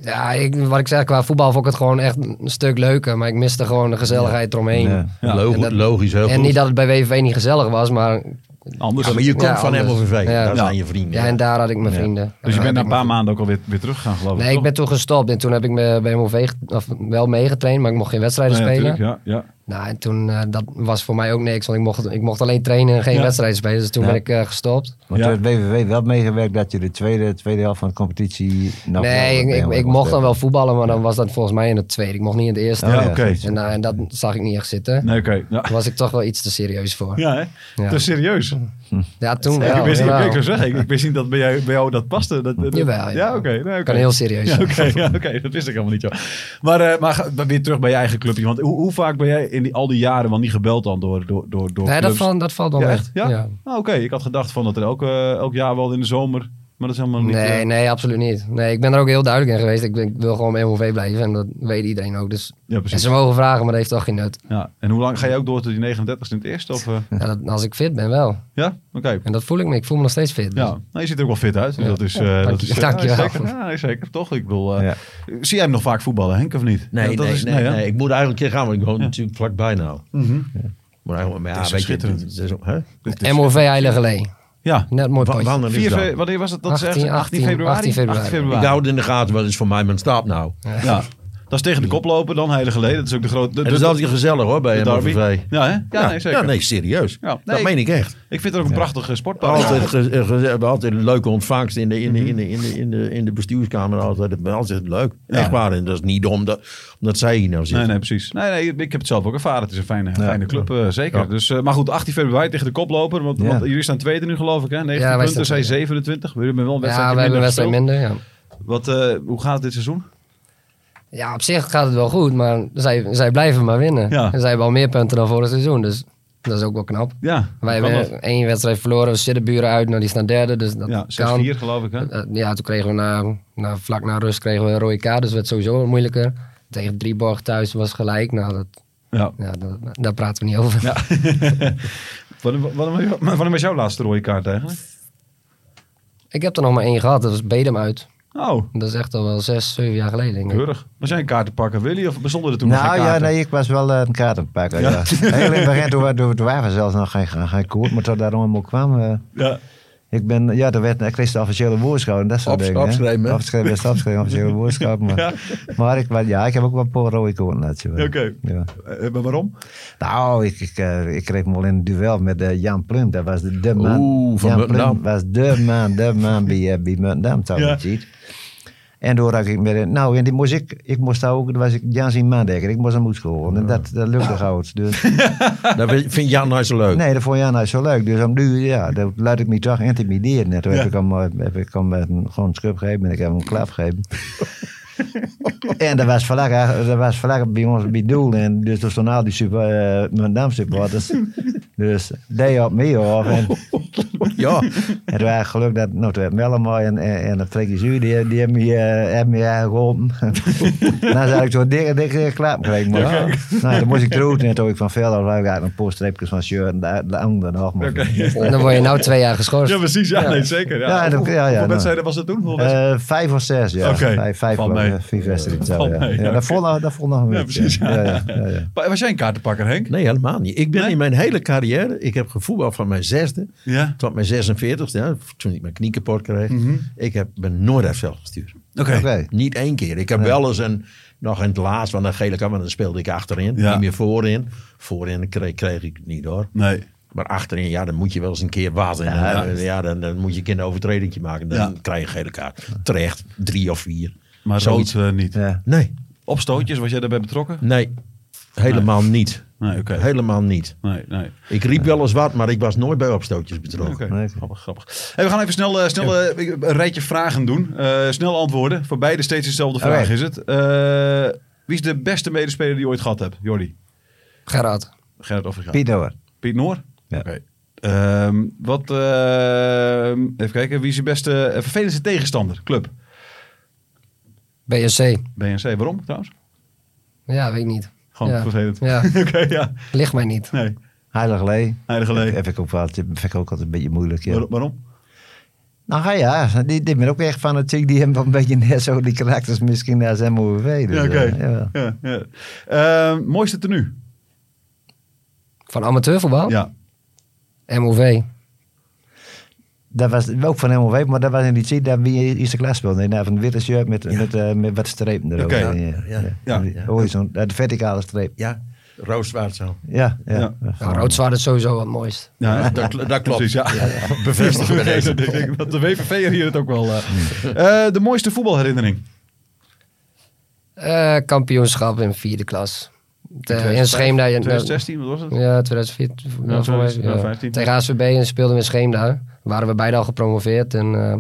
E: Ja, ik, wat ik zeg, qua voetbal vond ik het gewoon echt een stuk leuker. Maar ik miste gewoon de gezelligheid eromheen.
A: Ja.
C: Ja.
B: Logo-
E: En dat-
B: logisch, heel
E: En
B: goed.
E: niet dat het bij WVV niet gezellig was, maar...
C: Anders.
B: Ja, maar je komt
E: Ja,
B: van
E: anders.
B: MLVV.
E: Ja.
B: Daar
E: Ja.
B: zijn je vrienden.
E: Ja, en daar had ik mijn vrienden.
C: Dus je bent
E: Ja,
C: na een
E: had
C: paar
E: ik mijn-
C: maanden ook alweer weer teruggegaan, geloof ik.
E: Nee, ik
C: toch?
E: ben toen gestopt. En toen heb ik me bij MOV get- of wel meegetraind, maar ik mocht geen wedstrijden
C: Ja,
E: spelen.
C: natuurlijk, Ja, ja.
E: Nou, en toen, eh, dat was voor mij ook niks. Want ik mocht, ik mocht alleen trainen en geen
C: Ja.
E: wedstrijden spelen. Dus toen
A: Ja.
E: ben ik eh, gestopt.
A: Want
C: Ja.
A: toen heeft BVV wel meegewerkt dat je de tweede, tweede helft van de competitie...
B: Nou,
A: nog
E: nee,
A: wel
E: ik,
A: bij hem
E: ik, ik
A: kon
E: mocht dan
A: spelen.
E: wel voetballen, maar dan was dat volgens mij in het tweede. Ik mocht niet in het eerste.
A: Oh,
C: Ja,
A: ja.
C: oké.
E: en, nou, en dat zag ik niet echt zitten.
C: Nee, oké. Ja.
E: Daar was ik toch wel iets te serieus voor. Ja,
C: Ja, hè?
E: Ja.
C: Dat is serieus.
E: toen
C: ik
E: wel.
C: wist niet,
E: jawel.
C: ik zou zeggen, ik, ik wist niet dat bij jou, bij jou dat paste. Dat, dat-
E: Jawel,
C: ja,
E: jawel.
C: oké. nee, oké.
E: Kan heel serieus
C: Ja,
E: zijn.
C: oké, ja, oké, dat wist ik helemaal niet, joh. Maar, eh, maar ga- maar weer terug bij je eigen clubje. Want hoe, hoe vaak ben jij in die, al die jaren wel niet gebeld dan door, door, door, door
E: Nee, dat,
C: clubs?
E: valt dat valt wel
C: Ja,
E: mee.
C: echt? Ja? Ah, oké. Ik had gedacht van dat er elk, eh, elk jaar wel in de zomer... Maar dat is helemaal niet...
E: Nee,
C: eh,
E: nee, absoluut niet. Nee, ik ben er ook heel duidelijk in geweest. Ik, ben- ik wil gewoon bij MOV blijven en dat weet iedereen ook. Dus
C: Ja,
E: en
C: precies.
E: ze mogen vragen, maar dat heeft toch geen nut.
C: Ja. En hoe lang ga je ook door tot die 39 in het eerste? Of, eh?
E: Ja, dat, als ik fit ben wel.
C: Ja? Oké.
E: En dat voel ik me. Ik voel me nog steeds fit.
C: Ja, nou, je ziet er ook wel fit uit. Dus
E: Ja.
C: dat is... eh,
E: dank
C: dat
E: je-
C: is eh,
E: dank je
C: ja,
E: wel.
C: Zeker, ja, zeker. Toch? Ik bedoel... eh, Zie jij hem nog vaak voetballen, Henk, of niet?
B: Nee,
C: Ja, dat
B: nee,
C: is-
B: nee,
C: hè? Mhm.
B: nee. Ik moet eigenlijk een keer gaan, want ik woon natuurlijk vlakbij nou. Maar eigenlijk, maar ja,
C: Het is
B: weet je,
C: schitterend.
B: het is ook- hè?
C: Dit is-
E: MOV Heiligerlee.
C: Ja.
E: E. Net mooi
B: Wa-
E: potje.
B: Wanneer is
C: 4 fe-
B: dat?
C: wanneer was het? Dat is
E: 18,
C: ergens 18 februari?
E: 18 februari.
B: Ik hou het in de gaten, want het is voor mij mijn stap nou.
C: Ja. Dat is tegen de koploper, dan Heiligerlee. Dat is ook de grote... De,
B: Het is
C: de-
B: altijd gezellig hoor, bij
C: de derby.
B: MVV.
C: Ja, hè? Ja, nee, zeker.
B: Ja, nee, serieus.
C: Ja, nee, Oh.
B: Dat
C: ik-
B: meen ik echt.
C: Ik vind het ook een prachtige sportpark.
B: Altijd, ge- eh, geze- altijd een leuke ontvangst in de, in
C: Mhm.
B: de, in de, in de, in de, in de bestuurskamer. Altijd, altijd leuk. Echt waar. En dat is niet omdat, omdat zij hier nou
C: Nee,
B: zitten.
C: nee, precies. Nee, nee, ik heb het zelf ook ervaren. Het is een fijne, fijne club, eh, zeker.
B: Ja.
C: Dus, eh, maar goed, 18 februari tegen de koploper. Want,
A: Ja.
C: want jullie staan tweede nu, geloof ik, hè? 19
E: wij
C: punten,
E: staan
C: zij
E: tweede.
C: 27. We hebben wel een wedstrijd
E: Ja, we hebben een wedstrijd
C: minder.
E: minder. Ja.
C: gespeeld. Wat, eh, hoe gaat het dit seizoen?
E: ja, op zich gaat het wel goed, maar zij, zij blijven maar winnen.
C: Ja.
E: En zij hebben al meer punten dan vorig seizoen, dus dat is ook wel knap.
C: Ja,
E: Wij
C: kan
E: hebben één wedstrijd verloren, we zitten buren uit, nou die staan derde, dus dat
C: dat? Ja,
E: kan.
C: 6-4 geloof ik, hè?
E: Eh, ja, toen kregen we na, na, vlak na rust kregen we een rode kaart, dus het werd sowieso moeilijker. Tegen Drieborg thuis was gelijk, nou dat,
C: Ja.
E: ja, dat, daar praten we niet over.
C: Wanneer, wanneer, wanneer was jouw laatste rode kaart eigenlijk?
E: Ik heb er nog maar één gehad, dat was Bedem uit.
C: Oh,
E: Dat is echt al wel zes, zeven jaar geleden. denk ik.
C: keurig. Was jij een kaartenpakker, Willy? Of bestonden er toen nog
A: Nou
C: geen
A: ja,
C: kaarten?
A: nee, ik was wel eh, een kaartenpakker. Ja. Heel in het begin, toen, wa- toen, toen waren we zelfs nog geen, geen koord, maar toen daarom ook kwam. eh,
C: Ja.
A: ik ben, ja, toen werd, ik kreeg de officiële woordenschap en dat soort
B: Op-
A: dingen. hè.
B: opschrijven, hè?
A: Opschrijven, dat is opschrijven, officiële woordenschap. Maar, maar ik, wa- ja, ik heb ook wel een paar rode koorten laten zien.
C: Oké.
A: Ja.
C: Eh, maar waarom?
A: Nou, ik, ik, eh, ik kreeg hem al in een duel met eh, Jan Plum. Dat was de, de man.
B: Oeh, van
A: Jan
B: Muntendam.
A: Plum was de man, de man bij, eh, bij Muntendam, zou je
C: Ja.
A: het zien. En toen raak ik met een- Nou, en die moest ik... Ik moest daar ook... Dat was ik Jan zien maandekker. Ik moest hem school. En dat, dat lukte goud. Dus,
B: Dat vind- vindt Jan nou zo leuk.
A: nee, dat vond Jan nou zo leuk. Dus om nu... Ja, dat laat ik me toch intimideren. En toen heb ik hem, eh, heb ik hem eh, gewoon een schub gegeven. En ik heb hem een klap gegeven. En dat was vlak, dat was vlak bij ons bij het doel. En dus toen stonden al die super, eh, Muntendam supporters. dus they op me af. En,
B: Ja.
A: en toen had ik geluk dat nou, toen werd Mellemoy en, en, en Frenkie Zuur, die, die hebben me, eh, hebben me eh, geholpen. dan zat ik zo dikke, dikke klap gekregen. Maar, nou, dan moest ik eruit. En toen ik van Velder had ik eigenlijk een paar streepjes van shirt en de, de andere nog. Maar,
E: En dan word je nou twee jaar geschorst.
C: Ja, precies. Ja, nee, zeker. Ja.
A: Ja, dat-
C: Hoeveel-
A: ja, ja,
C: hoeveel
A: nou.
C: wedstrijden was dat toen? Hoeveel wedstrijden?
A: Eh, vijf of zes, ja.
C: Oké,
A: Vijf, vijf
C: valt
A: wel,
C: mee.
A: ja. Vier wedstrijden. zo,
C: Valt
A: ja.
C: mee,
A: ja,
C: ja,
A: dat vond nog- dat vond nog een
C: Ja,
A: beetje.
C: precies, ja.
A: Ja, ja, ja, ja.
C: Maar Was jij een kaartenpakker, Henk?
B: Nee, helemaal niet. Ik ben
C: Nee?
B: in mijn hele carrière, ik heb gevoetbald van mijn zesde
C: Ja. Mhm.
B: tot mijn 46, ja, toen ik mijn knie kapot kreeg. Ik heb, ben nooit zelf gestuurd.
C: Oké.
A: Oké.
B: Niet één keer. Ik heb wel eens een, nog in het laatst van een gele kant, maar dan speelde ik achterin,
C: Ja.
B: niet meer voorin. Voorin kreeg, kreeg ik het niet hoor.
C: Nee.
B: Maar achterin, ja, dan moet je wel eens een keer wat. En, eh, ja, dan, dan moet je een keer een overtredingje maken. Dan
C: Ja.
B: krijg je een gele kaart. Terecht, drie of vier.
C: Maar
B: Zoiets.
C: rood eh, niet.
A: Ja.
B: Nee,
C: Opstootjes, was jij daarbij betrokken?
B: nee. Helemaal niet.
C: Nee, oké.
B: Helemaal niet.
C: Nee, nee.
B: Ik riep wel eens wat, maar ik was nooit bij opstootjes betrokken.
C: Oké,
A: Nee.
C: grappig, grappig. Hey, we gaan even snel, eh, snel eh, een rijtje vragen doen. Eh, snel antwoorden. Voor beide steeds dezelfde vraag
A: Oké.
C: is het. Eh, wie is de beste medespeler die je ooit gehad hebt? Jordi,
E: Gerard.
C: Gerrit of Rigaat?
A: Piet hoor.
C: Piet Noor?
A: Ja.
C: Oké. Ehm, wat, ehm, even kijken, wie is je beste eh, vervelendste tegenstander? Club.
E: BSC.
C: BNC, waarom trouwens?
E: Ja, weet ik niet.
C: Gewoon
E: Ja.
C: vervelend.
E: Ja.
C: Oké, ja.
E: Ligt mij niet.
C: Nee,
A: Heilig Lee.
C: Heiligerlee.
A: Heb ik ook wel. Vind ik ook altijd een beetje moeilijk. Ja.
C: Waar- waarom?
A: Nou ja, die, die ben ook echt fanatiek. Die hebben wel een beetje net zo die karakters misschien naar zijn MOV. Dus,
C: Ja, oké.
A: eh, jawel.
C: Ja, ja. Eh, mooiste tenue?
E: Van amateurvoetbal?
C: Ja.
E: MOV.
A: Dat was ook van MOV, maar dat was in die tijd dat we in de eerste klas speelden. Nee, nou, van een witte shirt met, met, eh, met wat strepen erover.
C: Oké.
A: Ja,
B: Ja, ja,
A: ja.
C: ja.
A: Horizon, eh, de verticale streep.
B: Ja, rooswaard zo.
A: Ja, ja.
C: Ja.
E: Nou, Rood-zwart is sowieso wat mooist.
C: Ja, hè?
B: Dat, dat klopt.
C: Precies, ja.
B: Bevestigd bij deze.
C: Ik denk dat de WVV hier het ook wel. eh. Eh, de mooiste voetbalherinnering.
E: Eh, kampioenschap in vierde klas. Te- in Scheemda. ja, nou,
C: 2016, wat was het?
E: Ja, 2014.
C: Ja,
E: voor mij,
C: 2015.
E: Tegen HSVB en speelden we in Scheemda. Waren we beide al gepromoveerd. En eh,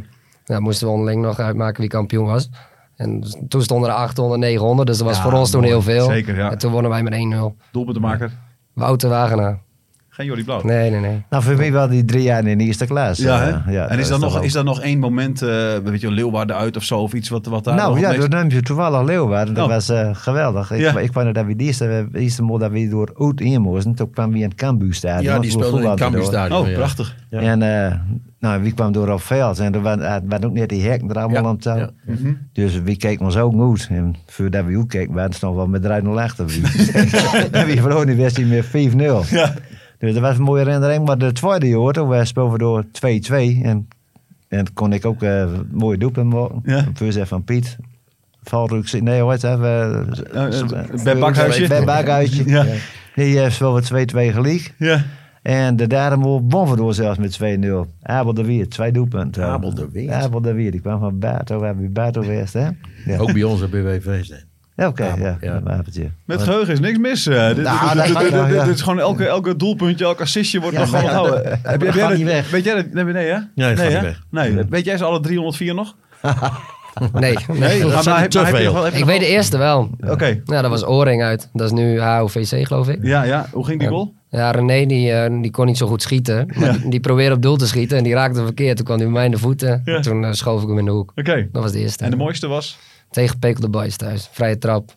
E: ja, moesten we onderling nog uitmaken wie kampioen was. En toen stonden er 800, 900. Dus dat was
C: Ja,
E: voor ons toen
C: mooi.
E: heel veel.
C: Zeker, ja.
E: En toen wonnen wij met 1-0.
C: Doelpuntenmaker.
E: Wouter Wagenaar.
C: Geen Jordi Blauw.
E: Nee, nee, nee.
A: Nou, voor mij wel die drie jaar in de eerste klas.
C: Ja,
A: Eh,
C: hè? en is, dat
A: toch
C: nog,
A: wel-
C: is dat nog één moment, eh, weet je, Leeuwarden uit of zo, of iets wat, wat daar nog
A: Nou ja,
C: het
A: dat
C: meest-
A: nam je toevallig Leeuwarden. Dat
C: Oh.
A: was eh, geweldig. Ik,
C: Ja.
A: ik kwam er dat we de eerste, de eerste mol dat we door Oud in moesten. Toen kwam we in het Cambuur Stadion.
B: Ja,
A: want
B: die
A: we
B: speelde in het
A: voetbalden
B: Cambuur
A: door.
B: Stadion.
C: Oh,
B: ja.
C: prachtig.
A: En eh, nou, wie kwam door op veld? En er waren, er waren ook net die hekken er allemaal
B: Ja,
A: aan het touw.
B: ja.
C: Mhm.
A: Dus wie keek ons ook goed. En voordat we ook keken, waren ze nog wel met 3-0 achter. en wie verloor die wedstrijd met 5-0. Dus dat was een mooie herinnering. Maar de tweede jaar, toen eh, speelden we door 2-2. En, en kon ik ook eh mooie doelpunt maken.
C: Ja.
A: Een voorzet van Piet. Valruk, nee hoor, hè. we-
C: eh, bij Bakhuisje.
A: Bij Bakhuisje.
C: Ja.
A: Die heeft wel 2-2 gelijk.
C: Ja.
A: En de Daremol won vandoor zelfs met 2-0. Abel de Weert, twee doelpunten.
B: Abel de Weert.
A: Abel de Weert, die kwam van Bato, waar we Bato geweest, hè? Ja,
B: Ook bij ons op BWV zijn.
A: Ja, oké, ja.
B: Abel, ja.
A: dat wapentje.
C: Met geheugen is niks mis. eh. dit,
A: Nou,
C: dit- dit-
A: dat-
C: dit- dit-
A: nou, ja.
C: dit is gewoon elke, elke doelpuntje, elk assistje wordt
A: Ja,
C: nog
A: maar
C: gewoon
A: ja,
C: gehouden.
A: dat-
C: Heb jij-
A: dat
C: jij
A: gaat
C: dat-
A: niet weg.
C: Weet jij dat? Nee, nee, hè?
B: dat gaat
C: hè?
B: niet weg.
C: Nee. Weet jij ze alle 304 nog?
E: Nee.
C: Nee,
B: dat
C: maar-
B: zijn
C: maar
B: er
C: heb-
B: te
C: maar heb je
B: veel.
C: nog wel- heb je
E: Ik
C: nog
E: weet de eerste wel.
C: wel- Oké.
E: Ja, dat was Oring uit. Dat is nu HOVC, geloof ik.
C: Ja, ja. Hoe ging die goal?
E: Ja, René die, eh, die kon niet zo goed schieten. Maar die, die probeerde op doel te schieten en die raakte verkeerd. Toen kwam hij bij mij in de voeten.
C: Ja.
E: En Toen eh, schoof ik hem in de hoek.
C: Oké.
E: Dat was de eerste.
C: En de mooiste was?
E: Tegen Pekel de Boys thuis. Vrije trap.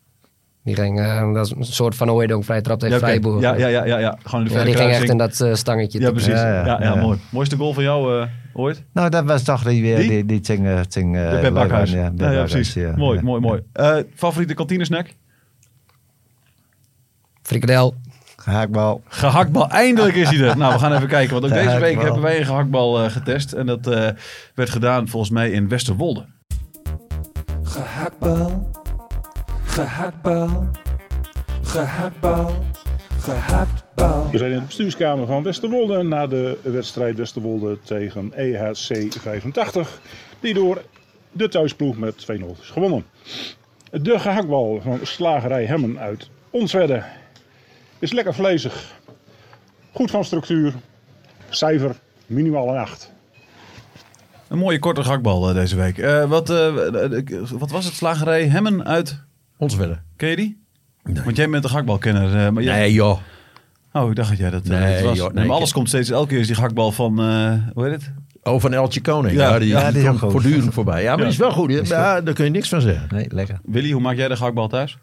E: Die ging, eh, dat is een soort van Ooidong, vrije trap tegen
C: oké.
E: Vrijboer.
C: Ja, ja, ja, ja, ja. Gewoon in de
E: Ja, die ging echt
C: verkruising.
E: in dat eh, stangetje.
C: Ja, precies. Ja,
A: Ja,
C: ja,
A: ja, ja.
C: mooi. Mooiste goal van jou eh, ooit?
A: Nou, dat was toch die weer,
C: Die?
A: die, die, ting, eh, ting, eh,
C: De Pep Bakhuis.
A: Leeuwarden,
C: Ja,
A: Pep
C: ja,
A: Bakhuis,
C: precies.
A: ja.
C: Mooi,
A: Ja.
C: mooi, mooi. Eh, favoriete kantinesnack?
E: Frikadel.
A: Haakbal.
C: Gehaktbal, eindelijk is hij er. Nou, we gaan even kijken. Want ook
A: De
C: deze week
A: gehaktbal.
C: hebben wij een gehaktbal eh, getest. En dat eh, werd gedaan volgens mij in Westerwolde.
F: Gehaktbal, gehaktbal, gehaktbal, gehaktbal.
G: We zijn in de bestuurskamer van Westerwolde na de wedstrijd Westerwolde tegen E EHC 85, die door de thuisploeg met 2-0 is gewonnen. De gehaktbal van slagerij Hemmen uit Onstwedde is lekker vlezig, goed van structuur, cijfer minimaal een 8.
C: Een mooie korte gehaktbal eh, deze week. Eh, wat, eh, eh, ik- wat was het? Slagerij Hemmen uit...
B: Ons verder.
C: Ken je die? Want jij bent een gehaktbalkenner. eh, maar jij...
B: Nee, joh.
C: Oh, ik dacht dat jij dat, eh,
B: Nee,
C: dat was.
B: joh, nee,
C: maar
B: ik-
C: alles komt steeds... Elke keer is die gehaktbal van... eh, hoe heet het?
B: Oh, van Eltje Koning.
C: Ja,
B: Ja, die,
A: ja, die is
B: komt
A: ook goed.
B: voortdurend voorbij. Ja, maar die is wel goed. hè? Ja, daar kun je niks van zeggen.
A: Nee, lekker.
C: Willy, hoe maak jij de gehaktbal thuis?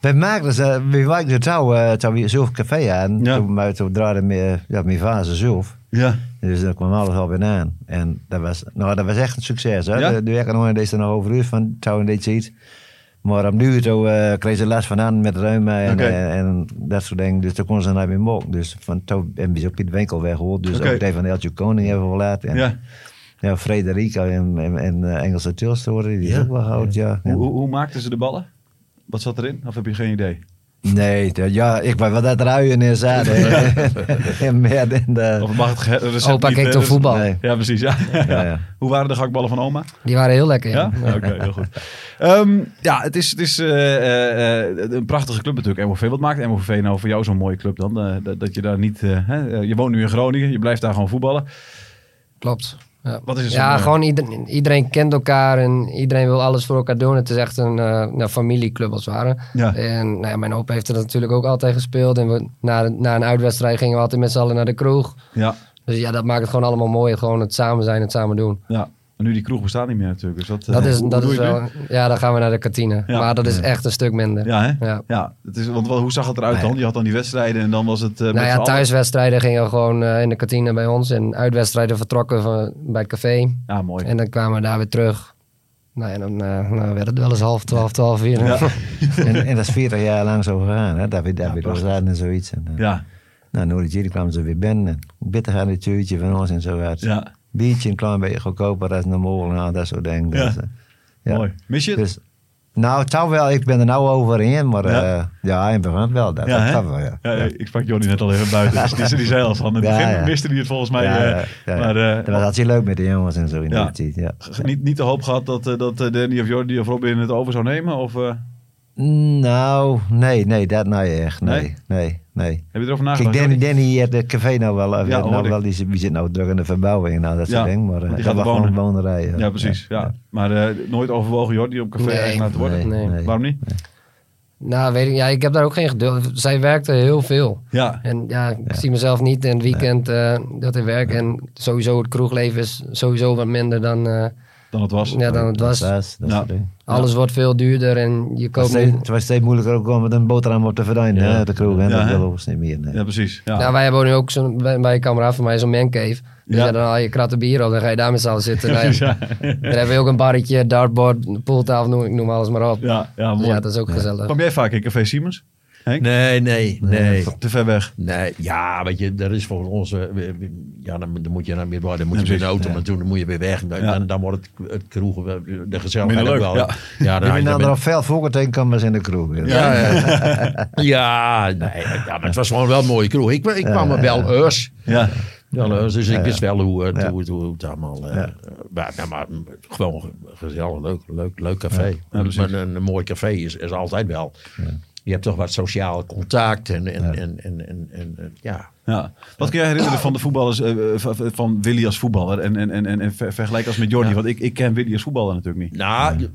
A: Wij maakten ze, we maakten touw, eh touw hier zelf café aan.
C: Ja.
A: Toen, maar toen draaide mijn, ja, mijn vader zelf.
C: Ja.
A: Dus daar kwam alles al bij aan. En dat was, nou, dat was echt een succes. Hè?
C: Ja?
A: De, de economie deed er nog over uur van, zou in deze iets. Maar op nu toe, eh, kreeg ze last van aan met reuma en,
C: Oké.
A: eh, en dat soort dingen. Dus toen kon ze naar meer mokken. Dus van toen hebben ze ook Piet Winkel weggehoord. Dus
C: Oké.
A: ook die van Eltje Koning hebben we laten. En,
C: ja.
A: ja, Frederico en, en, en eh, Engelse Tilstory, die is ook wel oud, ja.
C: Hoe, hoe, hoe maakten ze de ballen? Wat zat erin? Of heb je geen idee?
A: Nee, dat- ja, ik ben wat uit ruien en zaden. en meer dan de...
C: Of mag het ge- recept
E: Opa
C: niet,
E: keek
C: eh,
E: toch
C: dus-
E: voetbal.
A: Eh, Nee.
C: Ja, precies. Ja.
A: Ja,
C: Ja.
A: ja.
C: Hoe waren de gakballen van oma?
E: Die waren heel lekker.
C: Ja,
E: Ja.
C: oké, heel goed. Ehm, ja, het is, het is eh, eh, eh, een prachtige club natuurlijk, MOV. Wat maakt MOV nou voor jou zo'n mooie club dan? Eh, dat, dat je daar niet... eh, hè, eh, je woont nu in Groningen, je blijft daar gewoon voetballen.
E: Klopt. Ja,
C: Wat is het
E: ja
C: zo'n, eh,
E: gewoon iedereen, iedereen kent elkaar en iedereen wil alles voor elkaar doen. Het is echt een eh, nou, familieclub als het ware.
C: Ja.
E: En nou ja, mijn opa heeft er natuurlijk ook altijd gespeeld. En we, na, na een uitwedstrijd gingen we altijd met z'n allen naar de kroeg.
C: Ja,
E: Dus ja, dat maakt het gewoon allemaal mooi. Gewoon het samen zijn, het samen doen.
C: ja. En nu die kroeg bestaat niet meer natuurlijk. Dus dat, eh,
E: Dat is,
C: hoe-
E: dat
C: hoe
E: is
C: doe je
E: wel,
C: het
E: ja, dan gaan we naar de kantine.
C: Ja.
E: Maar dat is echt een stuk minder.
C: nu? Ja, hè? Ja.
E: Ja.
C: het is, want wel, hoe zag het eruit dan? Je had dan die wedstrijden en dan was het... eh, met
E: Nou
C: z'n
E: ja,
C: allen-
E: thuiswedstrijden gingen gewoon eh, in de kantine bij ons. En uitwedstrijden vertrokken van, bij het café.
C: Ja, mooi.
E: En dan kwamen we daar weer terug. Nou, en dan eh, nou, werd het wel eens half twaalf, twaalf uur.
C: Ja.
A: En, en dat is 40 jaar lang zo gegaan, hè? Daar weer, daar weer losraden en zoiets. En, eh,
C: Ja,
A: Nou, na jullie kwamen ze weer binnen. Bitter aan het tuurtje van ons en zo uit.
C: ja,
A: Biertje een klein beetje goedkoper als normaal en al dat soort dingen.
C: Ja.
A: Dus, eh, ja.
C: mooi. Mis je het?
A: Dus, nou, het zou wel, ik ben er nou over in, maar
C: Ja.
A: ja, ja in begin wel. Dat, dat
C: hè?
A: gaat wel, ja.
C: Ja, ik sprak Johnny net al even buiten. Dus die, die zei al van, in het
A: Ja,
C: begin
A: ja.
C: miste hij het volgens mij.
A: Ja,
C: eh,
A: ja, ja, ja.
C: Maar eh,
A: dat was hartstikke leuk met de jongens en zo in
C: Ja.
A: die tijd, ja.
C: g- niet, niet de hoop gehad dat, eh, dat eh, Danny of Jordi of Robin het over zou nemen? Of eh,
A: Nou, nee, nee, dat nou echt. Nee,
C: Nee?
A: nee, nee.
C: heb je erover nagedacht?
A: Kijk, Danny,
C: Johnny?
A: Danny heeft het café nou wel, of
C: Ja,
A: heeft
C: hoor
A: nou
C: ik.
A: wel die, zit- die zit nou druk in de verbouwing, nou dat
C: Ja,
A: soort dingen. Maar
C: want
A: eh,
C: die
A: dat
C: gaat
A: was
C: wonen.
A: gewoon een wonerij.
C: Ja, precies. Ja. Maar eh, nooit overwogen Jordi om café
E: Nee.
C: eigenaar te worden?
A: Nee,
E: Nee.
A: nee.
C: Waarom niet?
E: Nou, weet ik, ja, ik heb daar ook geen geduld. Zij werkte heel veel.
C: Ja,
E: En ja, ik zie mezelf niet in het weekend eh, dat in werk. En sowieso het kroegleven is sowieso wat minder dan, eh,
C: dan het was.
E: ja, dan het was.
A: Dat is, dat
C: Ja.
A: soort dingen.
E: Alles wordt veel duurder en je
A: Het
E: koopt
A: was, steeds,
E: nu-
A: het was steeds moeilijker ook om met een boterham op te verdienen,
C: Ja.
A: hè, de kroeg. Hè?
C: Ja,
A: dat
C: hè?
A: wil ons niet meer. nee.
C: Ja, precies. Ja.
E: Nou, wij hebben nu ook zo'n, bij, bij een kameraad van mij zo'n mancave. Dus
C: Ja.
E: ja, dan haal je kratten bier op, dan ga je daar met z'n allen zitten. Nou ja,
C: Precies, ja.
E: Dan hebben we ook een barretje, dartboard, pooltafel, noem, ik noem alles maar op.
C: Ja, ja,
E: Dus
C: mooi.
E: ja, dat is ook gezellig.
C: Kwam jij vaak in Café Siemens? Henk?
B: Nee, nee, nee.
C: Te ver weg.
B: Nee, ja, weet je, dat is volgens ons... eh, we- we- Ja, dan, dan moet je naar Middelbaar, dan moet je
C: Ja,
B: weer in de
C: precies.
B: auto naartoe, dan moet je weer weg. Dan,
C: Ja.
B: dan, dan wordt het, het kroegen, wel- de gezelligheid
C: Minder
B: ook
C: leuk,
B: wel.
C: ja.
B: Ja,
A: Je
B: dan,
A: bent
B: dan,
A: nou er op veel voorgetekenkamers in de kroeg. hè.
B: ja, ja. ja, nee, ja, maar het was gewoon wel een mooie kroeg. Ik, ik kwam er wel eens.
C: Ja.
B: Wel eens, dus ik wist wel hoe, eh, hoe, hoe, hoe het allemaal... eh, maar, nou, maar gewoon ge- gezellig, leuk, leuk, leuk café. maar een, een mooi café is, is altijd wel... Je hebt toch wat sociaal contact en, en, en, en, en, en, en- ja...
C: Ja. Wat kun jij herinneren van de voetballers, eh, eh, van- van Willy als voetballer en, en, en, en, en ver- vergelijk als met Jordi? Want ik, ik ken Willy als voetballer natuurlijk niet.
B: Nou, je,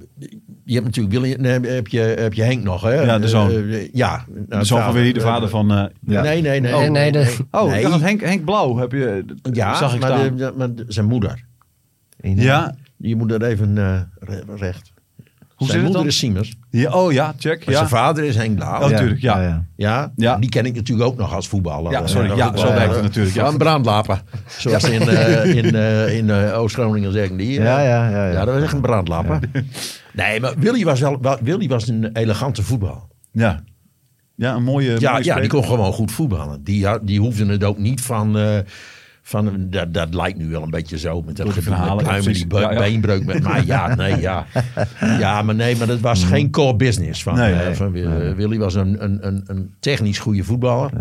B: je hebt natuurlijk Willy, nee, heb, je, heb je Henk nog, hè?
C: Ja, de zoon.
B: Eh, eh, ja. Nou,
C: De zoon van Willy, de vader van... eh,
A: Ja.
B: Nee, nee, nee.
E: Oh. Nee, nee, de-
C: Oh,
B: Nee.
C: ik dacht dat Henk, Henk Blauw heb je, eh,
B: ja,
C: zag ik
B: maar,
C: staan.
B: de- de- maar de- zijn moeder.
C: ja.
B: Je moet dat even eh, re- recht.
C: Hoe
B: zijn
C: zit het
B: moeder
C: dan?
B: is Siemens.
C: ja. Oh ja, check.
B: Maar
C: Ja.
B: zijn vader is Henk
C: Oh,
B: Blauw. Ja.
C: tuurlijk, ja. Ja.
B: die ken ik natuurlijk ook nog als voetballer.
C: Ja, sorry,
B: Eh,
C: ja,
B: voetballer.
C: zo werkt het natuurlijk, ja.
B: Een brandlaper, zoals ze in, eh, in, eh, in eh, Oost-Groningen zeggen die. eh,
A: Ja, ja, ja, ja.
B: dat was echt een brandlaper. Nee, maar Willy was, wel, wel- Willy was een elegante voetbal.
C: ja. Ja, een mooie...
B: Ja,
C: mooie
B: ja die
C: speler.
B: kon gewoon goed voetballen. Die, had- die hoefde het ook niet van... eh, van dat, dat lijkt nu wel een beetje zo. Met dat
C: Door die
B: gedoe
C: verhalen,
B: met
C: ja,
B: pluimen, die
C: precies.
B: be-
C: Ja, ja.
B: beenbreuk met mij. Ja, nee, ja. Ja, maar nee, maar dat was geen core business. Van,
C: Mm. Nee,
B: eh,
C: nee.
B: van, eh, Willy was een, een, een, een technisch goede voetballer.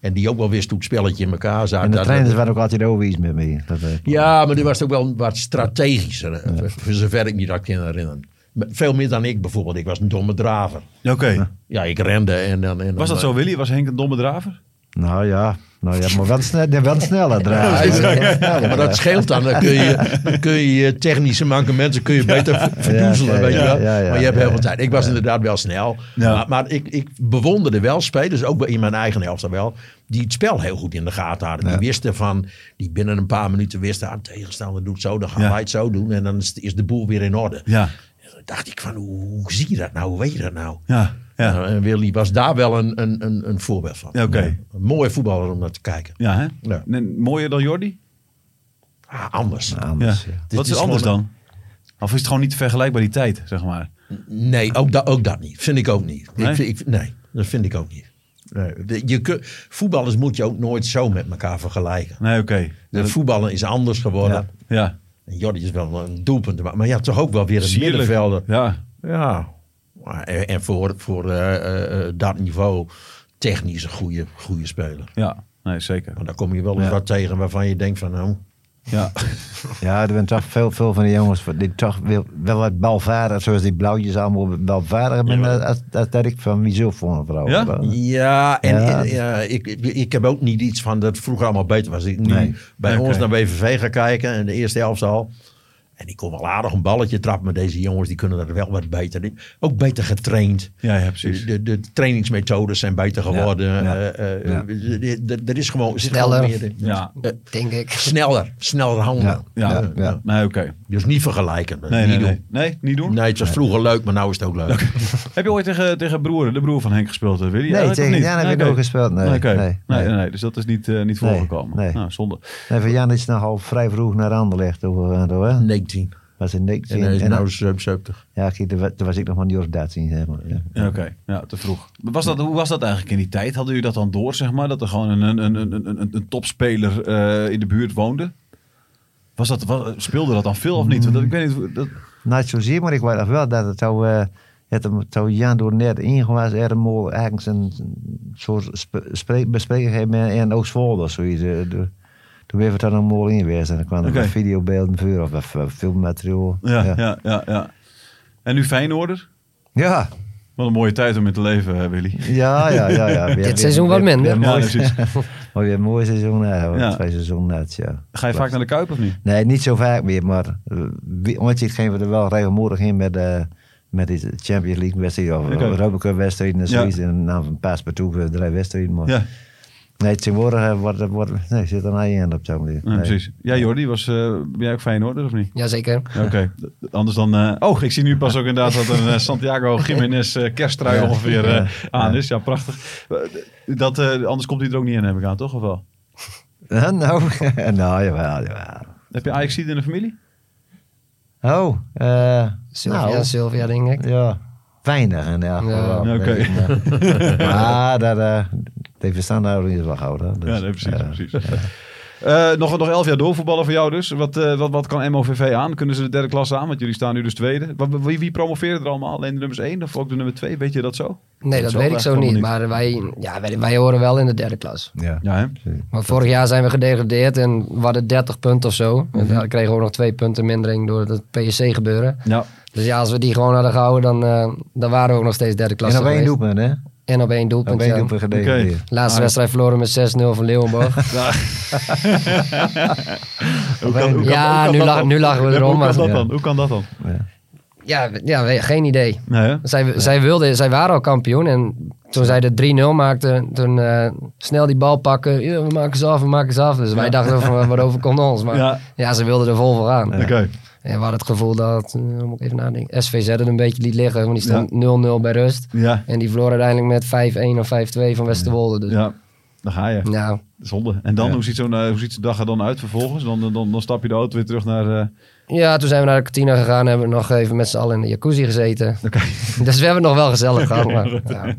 B: En die ook wel wist hoe het spelletje in elkaar zat.
A: En de
B: Dat-
A: trainers waren ook altijd over iets met me. Dat, eh,
B: ja, maar die was ook wel wat strategischer. eh, voor- Voor zover ik me dat kan herinneren. Maar Veel meer dan ik bijvoorbeeld. Ik was een domme draver.
C: Ja, Oké.
B: Ja, ik rende en dan... En dan-
C: Was dat zo, Willy? Was Henk een domme draver?
A: Nou ja, nou ja maar wel, sne nee, wel sneller
B: Ja,
A: draaien.
B: ja,
A: Wel
B: ja.
A: sneller
B: maar dat scheelt dan. Dan kun je, dan kun je je technische mankementen kun je beter ver- verdoezelen.
A: oké,
B: weet je
A: ja,
B: wel.
A: ja, ja,
B: maar je hebt
A: ja,
B: heel veel
A: ja.
B: tijd. Ik was inderdaad wel snel.
C: Ja.
B: Maar, maar ik, ik bewonderde wel spelers, ook bij- in mijn eigen helft dan wel, die het spel heel goed in de gaten hadden. Die wisten van, die binnen een paar minuten wisten, ah, tegenstander doet zo, dan gaan
C: Ja.
B: wij het zo doen. En dan is, is de boel weer in orde.
C: Ja.
B: En dan dacht ik van, hoe, hoe zie je dat nou? Hoe weet je dat nou?
C: Ja. Ja.
B: Nou, en Willy was daar wel een, een, een, een voorbeeld van.
C: Ja, oké.
B: Een mooie voetballer om naar te kijken.
C: Ja, hè?
B: Ja.
C: Nee, mooier dan Jordi?
B: Ah, anders.
A: Anders,
C: Ja.
A: ja.
B: Dit
C: Wat is,
B: is
C: anders
B: gewoon
C: dan? Of is het gewoon niet vergelijkbaar die tijd, zeg maar?
B: Nee, ook, da- ook dat niet. Vind ik ook niet.
C: Nee?
B: Ik, vind- ik, nee, dat vind ik ook niet. Nee, de- je kun- voetballers moet je ook nooit zo met elkaar vergelijken.
C: Nee, oké.
B: De voetballer is anders geworden.
C: Ja.
B: En Jordi is wel een doelpunt, maar maar ja, toch ook wel weer een
C: Sierlijk.
B: middenvelder.
C: Ja.
B: Ja. Maar En, en voor, voor eh, eh, eh, dat niveau technisch een goede, goede speler.
C: Ja. Nee, zeker.
B: Maar daar kom je wel eens wat tegen waarvan je denkt van... nou,
C: Ja.
A: Ja, er zijn toch veel, veel van die jongens die toch wel, wel wat balvaardig, zoals die blauwtjes allemaal balvaardig zijn, als, als, dat ik van mezelf vond. Vooral.
C: Ja?
B: Ja, en
A: Ja.
B: en, ja, ik, ik, ik heb ook niet iets van dat het vroeger allemaal beter was. Ik nu
A: Nee.
B: bij
C: Oké.
B: ons naar BVV ga kijken en de eerste helft al. En die kon wel aardig een balletje trappen. Maar deze jongens die kunnen dat wel wat beter. Die- Ook beter getraind.
C: Ja, ja, precies.
B: De, de, de trainingsmethodes zijn beter geworden.
C: ja,
B: Eh, eh,
C: ja.
B: de- de- de- Er is gewoon... er zit
E: Sneller.
B: gewoon meer in.
C: Ja,
E: denk ik.
B: Sneller. Sneller handelen.
C: ja.
A: Ja, ja.
C: Nee, oké.
B: Dus niet vergelijken.
C: Nee,
B: niet
C: nee, nee.
B: doen.
C: nee, niet doen.
B: Nee, het was vroeger leuk, maar nu is het ook leuk.
C: Heb je ooit tegen, tegen broer, de broer van Henk gespeeld, eh, Willy?
A: Nee,
C: Eigenlijk of
A: tegen
C: niet?
A: Jan heb ik
C: oké.
A: nooit gespeeld, nee,
C: oké.
A: nee,
C: nee,
A: nee.
C: nee, Dus dat is niet, eh, niet
A: Nee,
C: voorgekomen.
A: nee.
C: Nou, zonde.
A: Nee, van Jan is nogal vrij vroeg naar Anderlecht overgegaan, toch? hè?
B: 19.
A: Was in 19.
B: En hij is nou-
A: en dan-
B: nu 77.
A: ja, kijk, toen wa- toen was ik nog van Jos Datsin, zeg maar. Ja.
C: Ja, Oké, ja, te vroeg. Maar Was dat, hoe was dat eigenlijk in die tijd? Hadden jullie dat dan door, zeg maar? Dat er gewoon een, een, een, een, een- een topspeler eh, in de buurt woonde? Was dat, wa- speelde dat dan veel of niet? Want dat- ik weet niet... hoe- Dat,
A: Niet zozeer, maar ik weet nog wel dat het zo... eh, het hem zo Jan door net ingewas, er een mol ergens een soort sp- spreek- bespreking gegeven met- en ook Zwolle of zoiets. eh, de- Toen ben het dan een mol in geweest en dan kwamen er
C: Oké.
A: videobeelden voor of, of, of filmmateriaal.
C: ja, ja. Ja, ja, En nu Feyenoorder?
A: ja,
C: Wat een mooie tijd om in te leven, hè, Willy.
A: ja, ja. ja, ja. Weer- weer-
E: seizoen wat
A: weer-
E: minder.
A: weer
C: Ja,
A: mooi-
C: precies.
A: Maar weer een mooi seizoen uit,
C: Ja.
A: ja. twee seizoenen uit, ja.
C: Ga je vaak naar de Kuip of niet?
A: Nee, niet zo vaak meer, maar eh, wie- omdat je het geen er wel regelmatig in met, eh met die Champions League wedstrijden of
C: Oké.
A: Europa Cup wedstrijden en
C: Ja.
A: zoiets. En dan een paar per toe eh, drie wedstrijden. Maar
C: Ja,
A: nee, tegenwoordig eh, wordt, wordt, nee, zit er niet in op zo'n manier.
C: ja,
A: Nee.
C: precies. Ja, Jordi, was, eh, ben jij ook Feyenoorder of niet?
E: Jazeker.
C: Ja, Oké, D- anders dan... eh, oh, ik zie nu pas ook inderdaad dat een eh, Santiago Jiménez eh, kersttrui
A: Ja.
C: ongeveer
A: Ja.
C: eh, aan is. Ja, prachtig. Eh, d- Dat, eh, anders komt hij er ook niet in, heb ik aan, toch? Of wel?
A: Eh, nou, nou, jawel, jawel.
C: Heb je ajax in de familie?
A: Oh, eh
E: Sylvia,
A: nou,
E: Sylvia, denk ik.
A: ja, weinig in elk
E: Ja.
A: geval.
C: Ja, oké.
A: Maar- Maar dat, eh die verstandhouding is wel goud. Hè? Dus,
C: ja, nee, precies.
A: eh,
C: precies. Eh, nog, nog elf jaar doorvoetballen voor jou dus. Wat, eh, wat, wat kan MOVV aan? Kunnen ze de derde klasse aan? Want jullie staan nu dus tweede. Wat, wie, wie promoveert er allemaal? Alleen de nummers één of ook de nummer twee? Weet je dat zo?
E: Nee, dat, weet ik zo
C: eigenlijk
E: niet.
C: allemaal
E: Maar wij, ja, wij, wij horen wel in de derde klas.
A: ja.
C: Ja, hè?
E: Maar vorig jaar zijn we gedegradeerd en we hadden 30 punten of zo. En
A: Mhm.
E: daar kregen we ook nog twee punten mindering door het PSC gebeuren.
C: Ja.
E: Dus ja, als we die gewoon hadden gehouden, dan, eh, dan waren we ook nog steeds derde klas.
A: En op één doelpunt, hè?
E: En op één doelpunt,
A: Op één
E: ja.
A: doelpunt gedegradeerd.
C: Oké.
E: Laatste
C: Ah.
E: wedstrijd verloren met 6-0 van Leeuwenborg.
C: Hoe kan- hoe kan-
E: Ja,
C: hoe kan
E: nu
C: dat
E: lach-
C: dan?
E: nu lachen we
C: Ja,
E: erom,
C: Hoe kan
E: maar-
C: dat
A: Ja.
C: dan? Hoe kan dat dan?
E: ja, we- ja, we- geen idee.
C: Nee, hè?
E: Zij, zij, wilden, zij waren al kampioen en toen zij de 3-0 maakten, toen eh, snel die bal pakken. Ja, we maken ze af, we maken ze af. Dus wij dachten van, wat overkomt ons? Maar
C: Ja.
E: ja. ze wilden er vol voor aan.
C: Oké.
E: En we hadden het gevoel dat, eh, moet ik even nadenken, SVZ het een beetje liet liggen. Want die stond 0-0 bij rust.
C: Ja.
E: En die verloor uiteindelijk met 5-1 of 5-2 van Westerwolde. Dus, ja.
C: Ja, daar ga je. Zonde. En dan,
A: Ja.
C: hoe ziet zo'n eh, hoe ziet zo'n dag er dan uit vervolgens? Dan, dan, dan, dan stap je de auto weer terug naar... eh,
E: ja, toen zijn we naar de kantine gegaan en hebben we nog even met z'n allen in de jacuzzi gezeten. Dus we hebben het nog wel gezellig gehad. Maar, ja.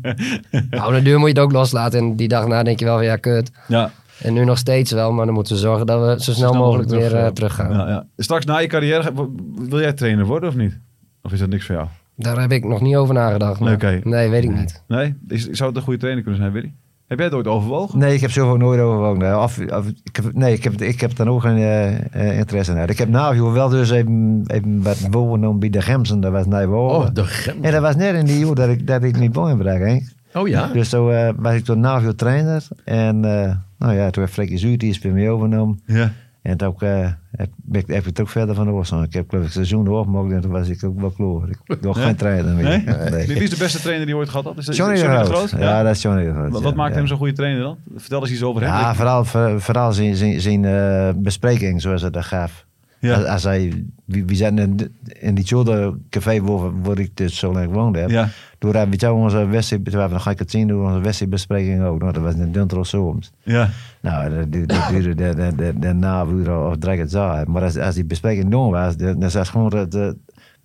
E: Nou, op de duur moet je het ook loslaten. En die dag na denk je wel van, ja, kut.
C: ja,
E: En nu nog steeds wel, maar dan moeten we zorgen dat we zo snel, mogelijk weer
C: terug,
E: eh,
C: eh,
E: teruggaan.
C: ja, ja. Straks na je carrière, ga- w- wil jij trainer worden of niet? Of is dat niks voor jou?
E: Daar heb ik nog niet over nagedacht. maar-
C: Oké.
E: Nee, weet ik niet.
C: Nee? Is, zou het een goede trainer kunnen zijn, Willy? Heb jij het ooit overwogen?
A: Nee, ik heb zoveel nooit overwogen. Nee, Of, of, ik heb, nee, ik heb, ik heb dan ook geen eh, eh, interesse in. Ik heb nou wel dus even, even wat wonen om bij de Gemsen. Dat was naar wonen.
B: Oh, de gem.
A: En dat was net in die eeuw dat ik, dat ik niet woon bracht, hè.
B: Oh ja.
A: Dus toen eh, was ik toen Navio trainer. En eh, nou ja, toen heeft Frekkie Zuur die is bij mij overgenomen.
C: Ja.
A: En toen ook, eh, heb, ben ik, heb ik het ook verder van oorsprong. Ik heb geloof ik het seizoen opgemaakt en toen was ik ook wel klaar. Ik was geen trainer meer.
C: Nee?
A: Nee.
C: Wie is de beste trainer die je ooit gehad had? Is dat,
A: Johnny
C: is
A: de
C: Johnny
A: Groot.
C: de Groot?
A: Ja,
C: Ja.
A: dat is Johnny de Groot.
C: Wat,
A: ja,
C: wat maakt
A: ja.
C: hem zo'n goede trainer dan? Vertel eens iets over hem.
A: Ja, vooral, voor- vooral zijn, zijn, zijn eh, bespreking, zoals hij dat gaf.
C: Ja.
A: Als, als hij, we, we zijn in, in die Tjolde café waar, waar ik dus zo lang woonde. heb.
C: Ja.
A: Toen hebben we jou onze wedstrijd, toen hebben we- dan ga ik het zien, doen we onze wedstrijdbespreking ook. Nou, dat was in Duntel soms.
C: Ja.
A: Nou, dat du- dat duurde de, de, de, de na uur of drie het zaal. Maar als, als die bespreking door was, dan dan zat gewoon dat... dat,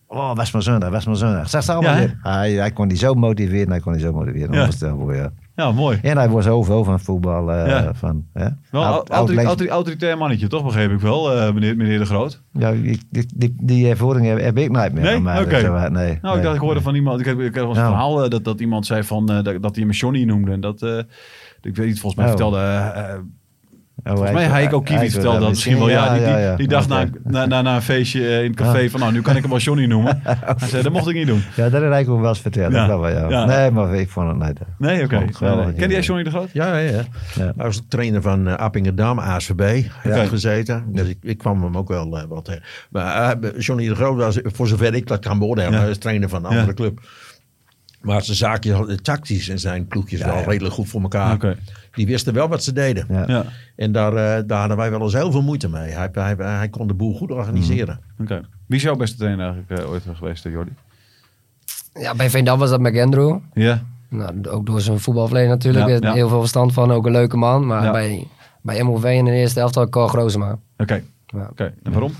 A: Oh, was maar zondag, was maar zondag. Zeg ze allemaal
C: Ja, hè?
A: weer. Hij, hij kon die zo motiveren, hij kon die zo motiveren.
C: Ja.
A: Onvoorstelbaar, ja.
C: ja, mooi.
A: En hij was zoveel van voetbal. eh,
C: Ja.
A: van, hè?
C: Wel een
A: Oud-
C: autori-
A: oud legend-
C: autori- autoritair mannetje, toch? Begreep ik wel, eh, meneer, meneer de Groot.
A: Ja, ik- die, die, die ervaring heb, heb ik niet meer.
C: Nee?
A: Maar
C: Oké.
A: dat, eh, nee,
C: Nou, ik
A: nee.
C: dacht, ik hoorde van iemand. Ik heb, ik heb wel eens een
A: Nou.
C: verhaal eh, dat, dat iemand zei van eh, dat, dat hij hem Johnny noemde. En dat, eh, ik weet niet, volgens mij
A: Oh.
C: vertelde eh, eh, Volgens mij Heiko Kiewit vertelde dat misschien wel. Ja, die, die, die dacht nou- na, na, na, na een feestje eh, in het café van... nou, nu kan ik hem wel Johnny noemen. Hij zei, dat mocht ik niet doen.
A: Ja, dat heeft Heiko hem wel eens verteld.
C: Ja.
A: dat wel, ja.
C: Ja.
A: Nee, maar ik vond het niet. eh.
C: Nee, oké.
A: Gewoon
C: Nee,
A: geweldig.
C: nee. Ken jij Johnny de Groot?
B: Ja, ja, ja.
A: Ja.
B: Hij was trainer van eh, Appingedam, ASVB. Hij
C: Ja.
B: heeft gezeten. Dus ik, ik kwam hem ook wel eh, wat tegen. Maar eh, Johnny de Groot was, voor zover ik dat kan beoordelen,
C: Ja.
B: hij was trainer van een
C: Ja.
B: andere club. Maar zijn zaakjes, hadden- tactisch en zijn ploegjes wel redelijk goed voor elkaar.
C: Oké.
B: Die wisten wel wat ze deden.
A: Ja.
C: Ja,
B: En daar, eh, daar hadden wij wel eens heel veel moeite mee. Hij, hij, hij kon de boel goed organiseren.
C: oké. Wie is jouw beste trainer eigenlijk eh, ooit geweest, eh, Jordi?
E: Ja, bij Veendam was dat McAndrew.
C: Ja.
E: Nou, ook door zijn voetbalverleden natuurlijk.
C: Ja,
E: Er is
C: ja.
E: Heel veel verstand van, ook een leuke man. Maar
C: Ja.
E: bij, bij MOV in de eerste helft had ik Cor Grozema.
C: Oké.
E: Ja.
C: Oké. En waarom?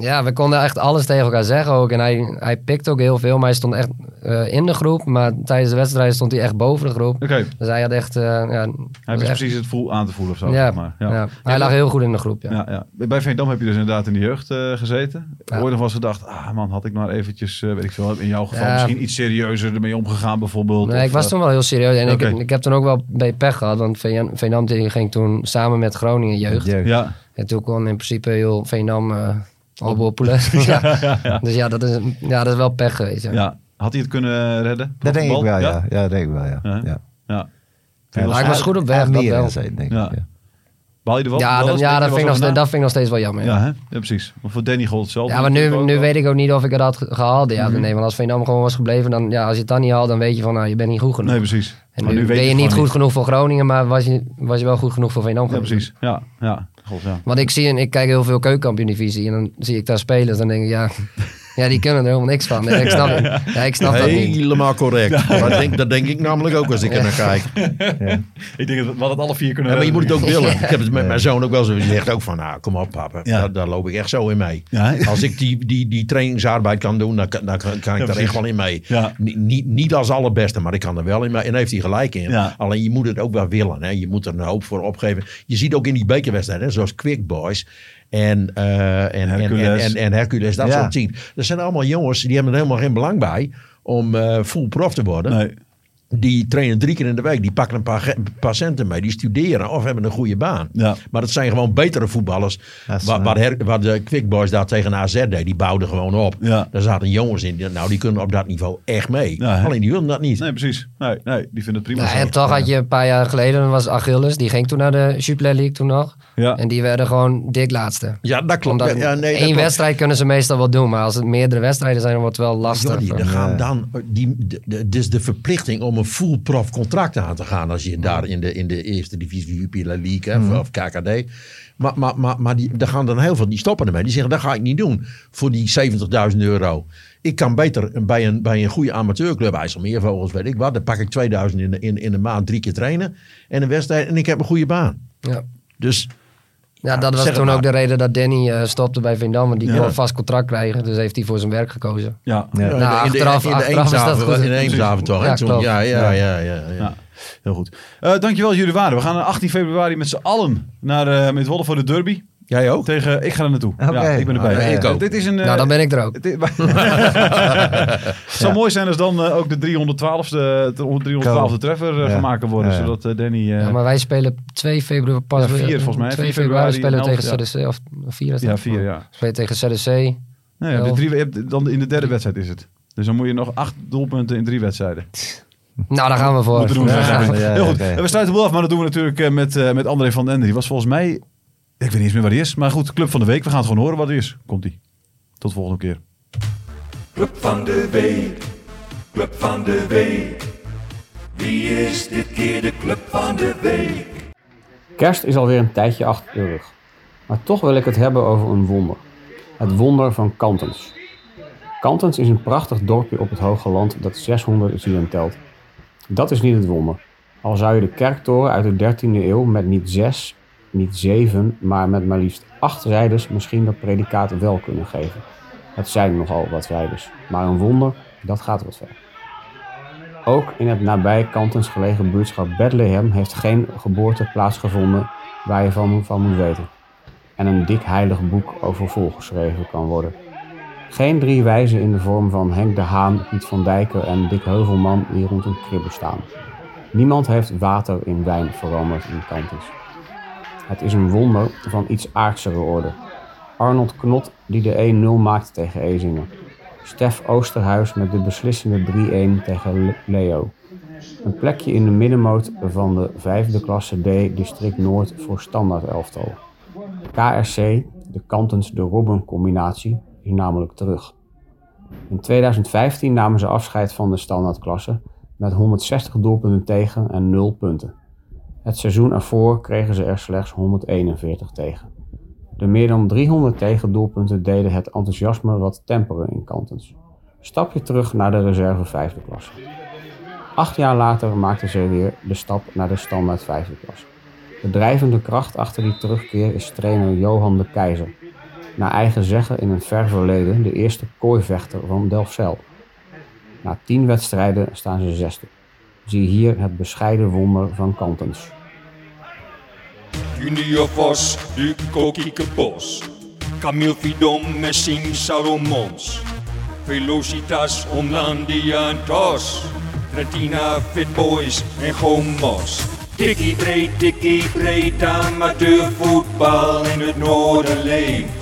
E: Ja, we konden echt alles tegen elkaar zeggen ook. En hij, hij pikte ook heel veel. Maar hij stond echt eh, in de groep. Maar tijdens de wedstrijd stond hij echt boven de groep.
C: Oké.
E: Dus hij had echt... eh, ja,
C: Hij
E: was
C: wist
E: echt-
C: precies het voel aan te voelen of zo.
E: ja,
C: zeg maar.
E: ja. Hij lag heel goed in de groep, ja.
C: Ja, ja. Bij Veendam heb je dus inderdaad in de jeugd eh, gezeten.
E: Ja.
C: Ooit nog was gedacht, ah man, had ik maar eventjes, eh, weet ik veel, in jouw geval
E: Ja.
C: misschien iets serieuzer ermee omgegaan bijvoorbeeld.
E: Nee,
C: of,
E: ik was
C: eh,
E: toen wel heel serieus. En
C: Oké.
E: ik, ik heb toen ook wel bij pech gehad. Want Veen- Veendam tegen- ging toen samen met Groningen jeugd.
A: Jeugd.
C: Ja,
E: En toen kon in principe heel Veendam eh opboppelen. ja. Dus ja dat, is, ja, dat is wel pech geweest. Ja.
C: ja. Had hij het kunnen redden?
A: Dat denk ik
C: Voetbal?
A: wel, ja. Ja, dat denk ik wel, ja.
C: Ja.
A: ja.
C: Ja.
E: Maar ik was goed op
A: Hij
E: weg,
A: had
E: dat
A: meer in
E: wel.
A: zijn, denk ik.
C: Ja.
A: ja.
C: Baal je er wel
E: Ja,
C: wel
E: dat,
C: eens-
E: ja
C: er
E: dat,
C: was
E: vind ik nog
C: over
E: steeds,
C: na?
E: dat vind ik nog steeds wel jammer. Ja,
C: Ja, hè? ja, precies. Maar voor Danny Gold zelf.
E: Ja, maar nu,
C: natuurlijk ook
E: nu
C: wel. Mhm.
E: weet ik ook niet of ik het had ge- gehaald. Ja, nee, want als Veendam gewoon was gebleven, dan, ja, als je het dan niet haalt, dan weet je van, nou, je bent niet goed genoeg.
C: Nee, precies.
E: en
C: Maar
E: nu,
C: weet
E: ben je
C: het
E: niet
C: gewoon
E: goed genoeg voor Groningen, maar was je, was je wel goed genoeg voor Veendam.
C: Ja,
E: geworden.
C: precies. Ja, ja. God, ja.
E: Want ik zie en ik kijk heel veel keukenkampioen-divisie en dan zie ik daar spelers en denk ik, ja, ja die kunnen er helemaal niks van. Ja, ik snap, ja, ik snap dat niet.
B: Helemaal correct. Dat, denk, dat denk ik namelijk ook als ik er naar kijk.
C: Ik denk dat we het alle vier kunnen
B: Ja, maar je
C: redden.
B: moet het ook willen. Ik heb het met mijn zoon ook wel zo. Die zegt ook van, nou, kom op papa.
C: Ja.
B: Daar, daar loop ik echt zo in mee.
C: Ja.
B: Als ik die, die, die trainingsarbeid kan doen, dan, kan- dan kan kan ik daar
C: precies.
B: echt wel in mee.
C: Ja.
B: Ni- Niet, niet als allerbeste, maar ik kan er wel in mee. En daar heeft hij gelijk in.
C: Ja.
B: Alleen je moet het ook wel willen. Hè. Je moet er een hoop voor opgeven. Je ziet ook in die bekerwedstrijden, zoals Quick Boys... En, eh, en, en, en,
C: Hercules.
B: en, en Hercules, dat
A: Ja.
B: soort teams. Dat zijn allemaal jongens, die hebben er helemaal geen belang bij om eh, full prof te worden.
C: Nee.
B: Die trainen drie keer in de week. Die pakken een paar ge- paar centen mee. Die studeren of hebben een goede baan.
C: Ja.
B: Maar dat zijn gewoon betere voetballers.
A: Dat is
B: Waar,
A: waar.
B: waar, her, waar de Quickboys daar tegen AZ deed. Die bouwden gewoon op.
C: Ja.
B: Daar zaten jongens in. die- Nou, die kunnen op dat niveau echt mee.
C: Ja, hè?
B: Alleen die willen dat niet.
C: Nee, precies. Nee, nee, die vinden het prima.
E: Ja,
C: zo.
E: en toch had je een paar jaar geleden, dat was Achilles, die ging toen naar de Jupiler League toen nog.
C: Ja.
E: En die werden gewoon dik laatste.
B: Ja, dat klopt.
E: Omdat
B: ja, nee, dat
E: één
B: klopt.
E: wedstrijd kunnen ze meestal wel doen, maar als het meerdere wedstrijden zijn, dan wordt het wel lastig.
B: Jordi, er gaan dan, eh, die, de- de- dus de verplichting om een full prof contract aan te gaan als je
E: Mm.
B: daar in de, in de eerste divisie Jupiler League hè, of- of KKD. Maar, maar, maar, maar die, daar gaan dan heel veel, die stoppen ermee. Die zeggen, dat ga ik niet doen voor die 70.000 euro. Ik kan beter een- bij een, bij een goede amateurclub, IJsselmeervogels, weet ik wat. Dan pak ik 2000 in de, in, in de maand drie keer trainen en een wedstrijd en ik heb een goede baan.
E: Ja.
B: Dus
E: Ja, dat
B: zeg
E: was
B: het
E: toen
B: maar.
E: ook de reden dat Danny eh, stopte bij Veendam, want die
C: Ja.
E: kon een vast contract krijgen, dus heeft hij voor zijn werk gekozen.
C: Ja.
A: Ja.
B: ja,
E: Nou,
B: eh, in de-
E: achteraf-
B: in de
E: achteraf is dat
B: Eemshaven-
E: goed.
B: in de Eemshaven toch? hè,
E: Ja,
B: toen?
E: klopt.
B: ja, ja, ja, ja, ja.
C: Ja, heel goed. Eh, dankjewel jullie waren. We gaan eh, 18 februari met z'n allen naar eh met Wolle voor de derby.
B: Jij ook?
C: Tegen, ik ga er naartoe.
A: Oké.
C: Ja, ik ben erbij.
B: Ah, ja, ik ook.
C: dit is een, eh,
E: nou, dan ben ik er ook.
C: het is- Het zou mooi zijn als dan eh, ook de 312e, de 312e treffer eh,
A: Ja.
C: gemaakt kan worden.
A: Ja, ja.
C: Zodat eh, Danny... eh,
E: Ja, maar wij spelen 2 februari pas
C: Ja, vier
E: weer-
C: volgens mij.
E: 2
C: Vier februari
E: februari spelen we
C: in
E: tegen CDC. Of 4 is dat?
C: ja, vier, ja.
E: We spelen tegen CDC.
C: Nee, nou ja, de
E: Elf.
C: drie, je hebt- dan in de derde wedstrijd is het. Dus dan moet je nog acht doelpunten in drie wedstrijden.
E: Nou, daar gaan we voor.
C: moeten doen.
E: Ja.
C: zeg maar.
A: Ja,
C: Heel goed.
A: oké.
C: En we sluiten wel af, maar dat doen we natuurlijk eh, met, eh, met André van den Ende. Die was volgens mij... Ik weet niet eens meer waar hij is. Maar goed, Club van de Week. We gaan het gewoon horen wat hij is. Komt-ie. Tot volgende keer.
F: Club van de Week, Club van de Week. Wie is dit keer de Club van de Week?
H: Kerst is alweer een tijdje achter de rug. Maar toch wil ik het hebben over een wonder. Het wonder van Kantens. Kantens is een prachtig dorpje op het Hoge Land dat 600 zielen telt. Dat is niet het wonder. Al zou je de kerktoren uit de 13e eeuw met niet zes, niet zeven, maar met maar liefst acht rijders misschien dat predicaat wel kunnen geven. Het zijn nogal wat rijders, maar een wonder, dat gaat wat ver. Ook in het nabij Kantens gelegen buurtschap Bethlehem heeft geen geboorte plaatsgevonden waar je van, van moet weten. En een dik heilig boek over volgeschreven kan worden. Geen drie wijzen in de vorm van Henk de Haan, Piet van Dijken en Dick Heuvelman die rond een kribbe staan. Niemand heeft water in wijn veranderd in Kantens. Het is een wonder van iets aardsere orde. Arnold Knot die de 1-0 maakt tegen Ezingen. Stef Oosterhuis met de beslissende 3-1 tegen Le- Leo. Een plekje in de middenmoot van de vijfde klasse D district Noord voor standaard elftal. KRC, de Kantens-de Robben combinatie, is namelijk terug. In 2015 namen ze afscheid van de standaardklasse met 160 doelpunten tegen en 0 punten. Het seizoen ervoor kregen ze er slechts 141 tegen. De meer dan 300 tegendoelpunten deden het enthousiasme wat temperen in Kantens. Stapje terug naar de reserve vijfde klasse. Acht jaar later maakten ze weer de stap naar de standaard vijfde klasse. De drijvende kracht achter die terugkeer is trainer Johan de Keizer. Naar eigen zeggen in een ver verleden de eerste kooivechter van Delfzijl. Na tien wedstrijden staan ze zesde. Zie hier het bescheiden wonder van Kantens.
D: Junior Vos, Hugo Kiekenbos. Camille Fidom, Messing Salomons. Velocitas, Omlandia en Tos. Retina, Fitboys en Gomos. Tikkie breed, tikkie breed, amateurvoetbal in het noorden leeft.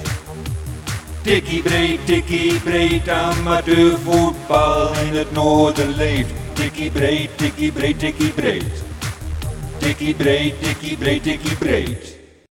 D: Tikkie breed, tikkie breed, amateurvoetbal in het noorden leeft. Tikkie breed, tikkie breed, tikkie breed. Tikkie breed, tikkie breed, tikkie breed.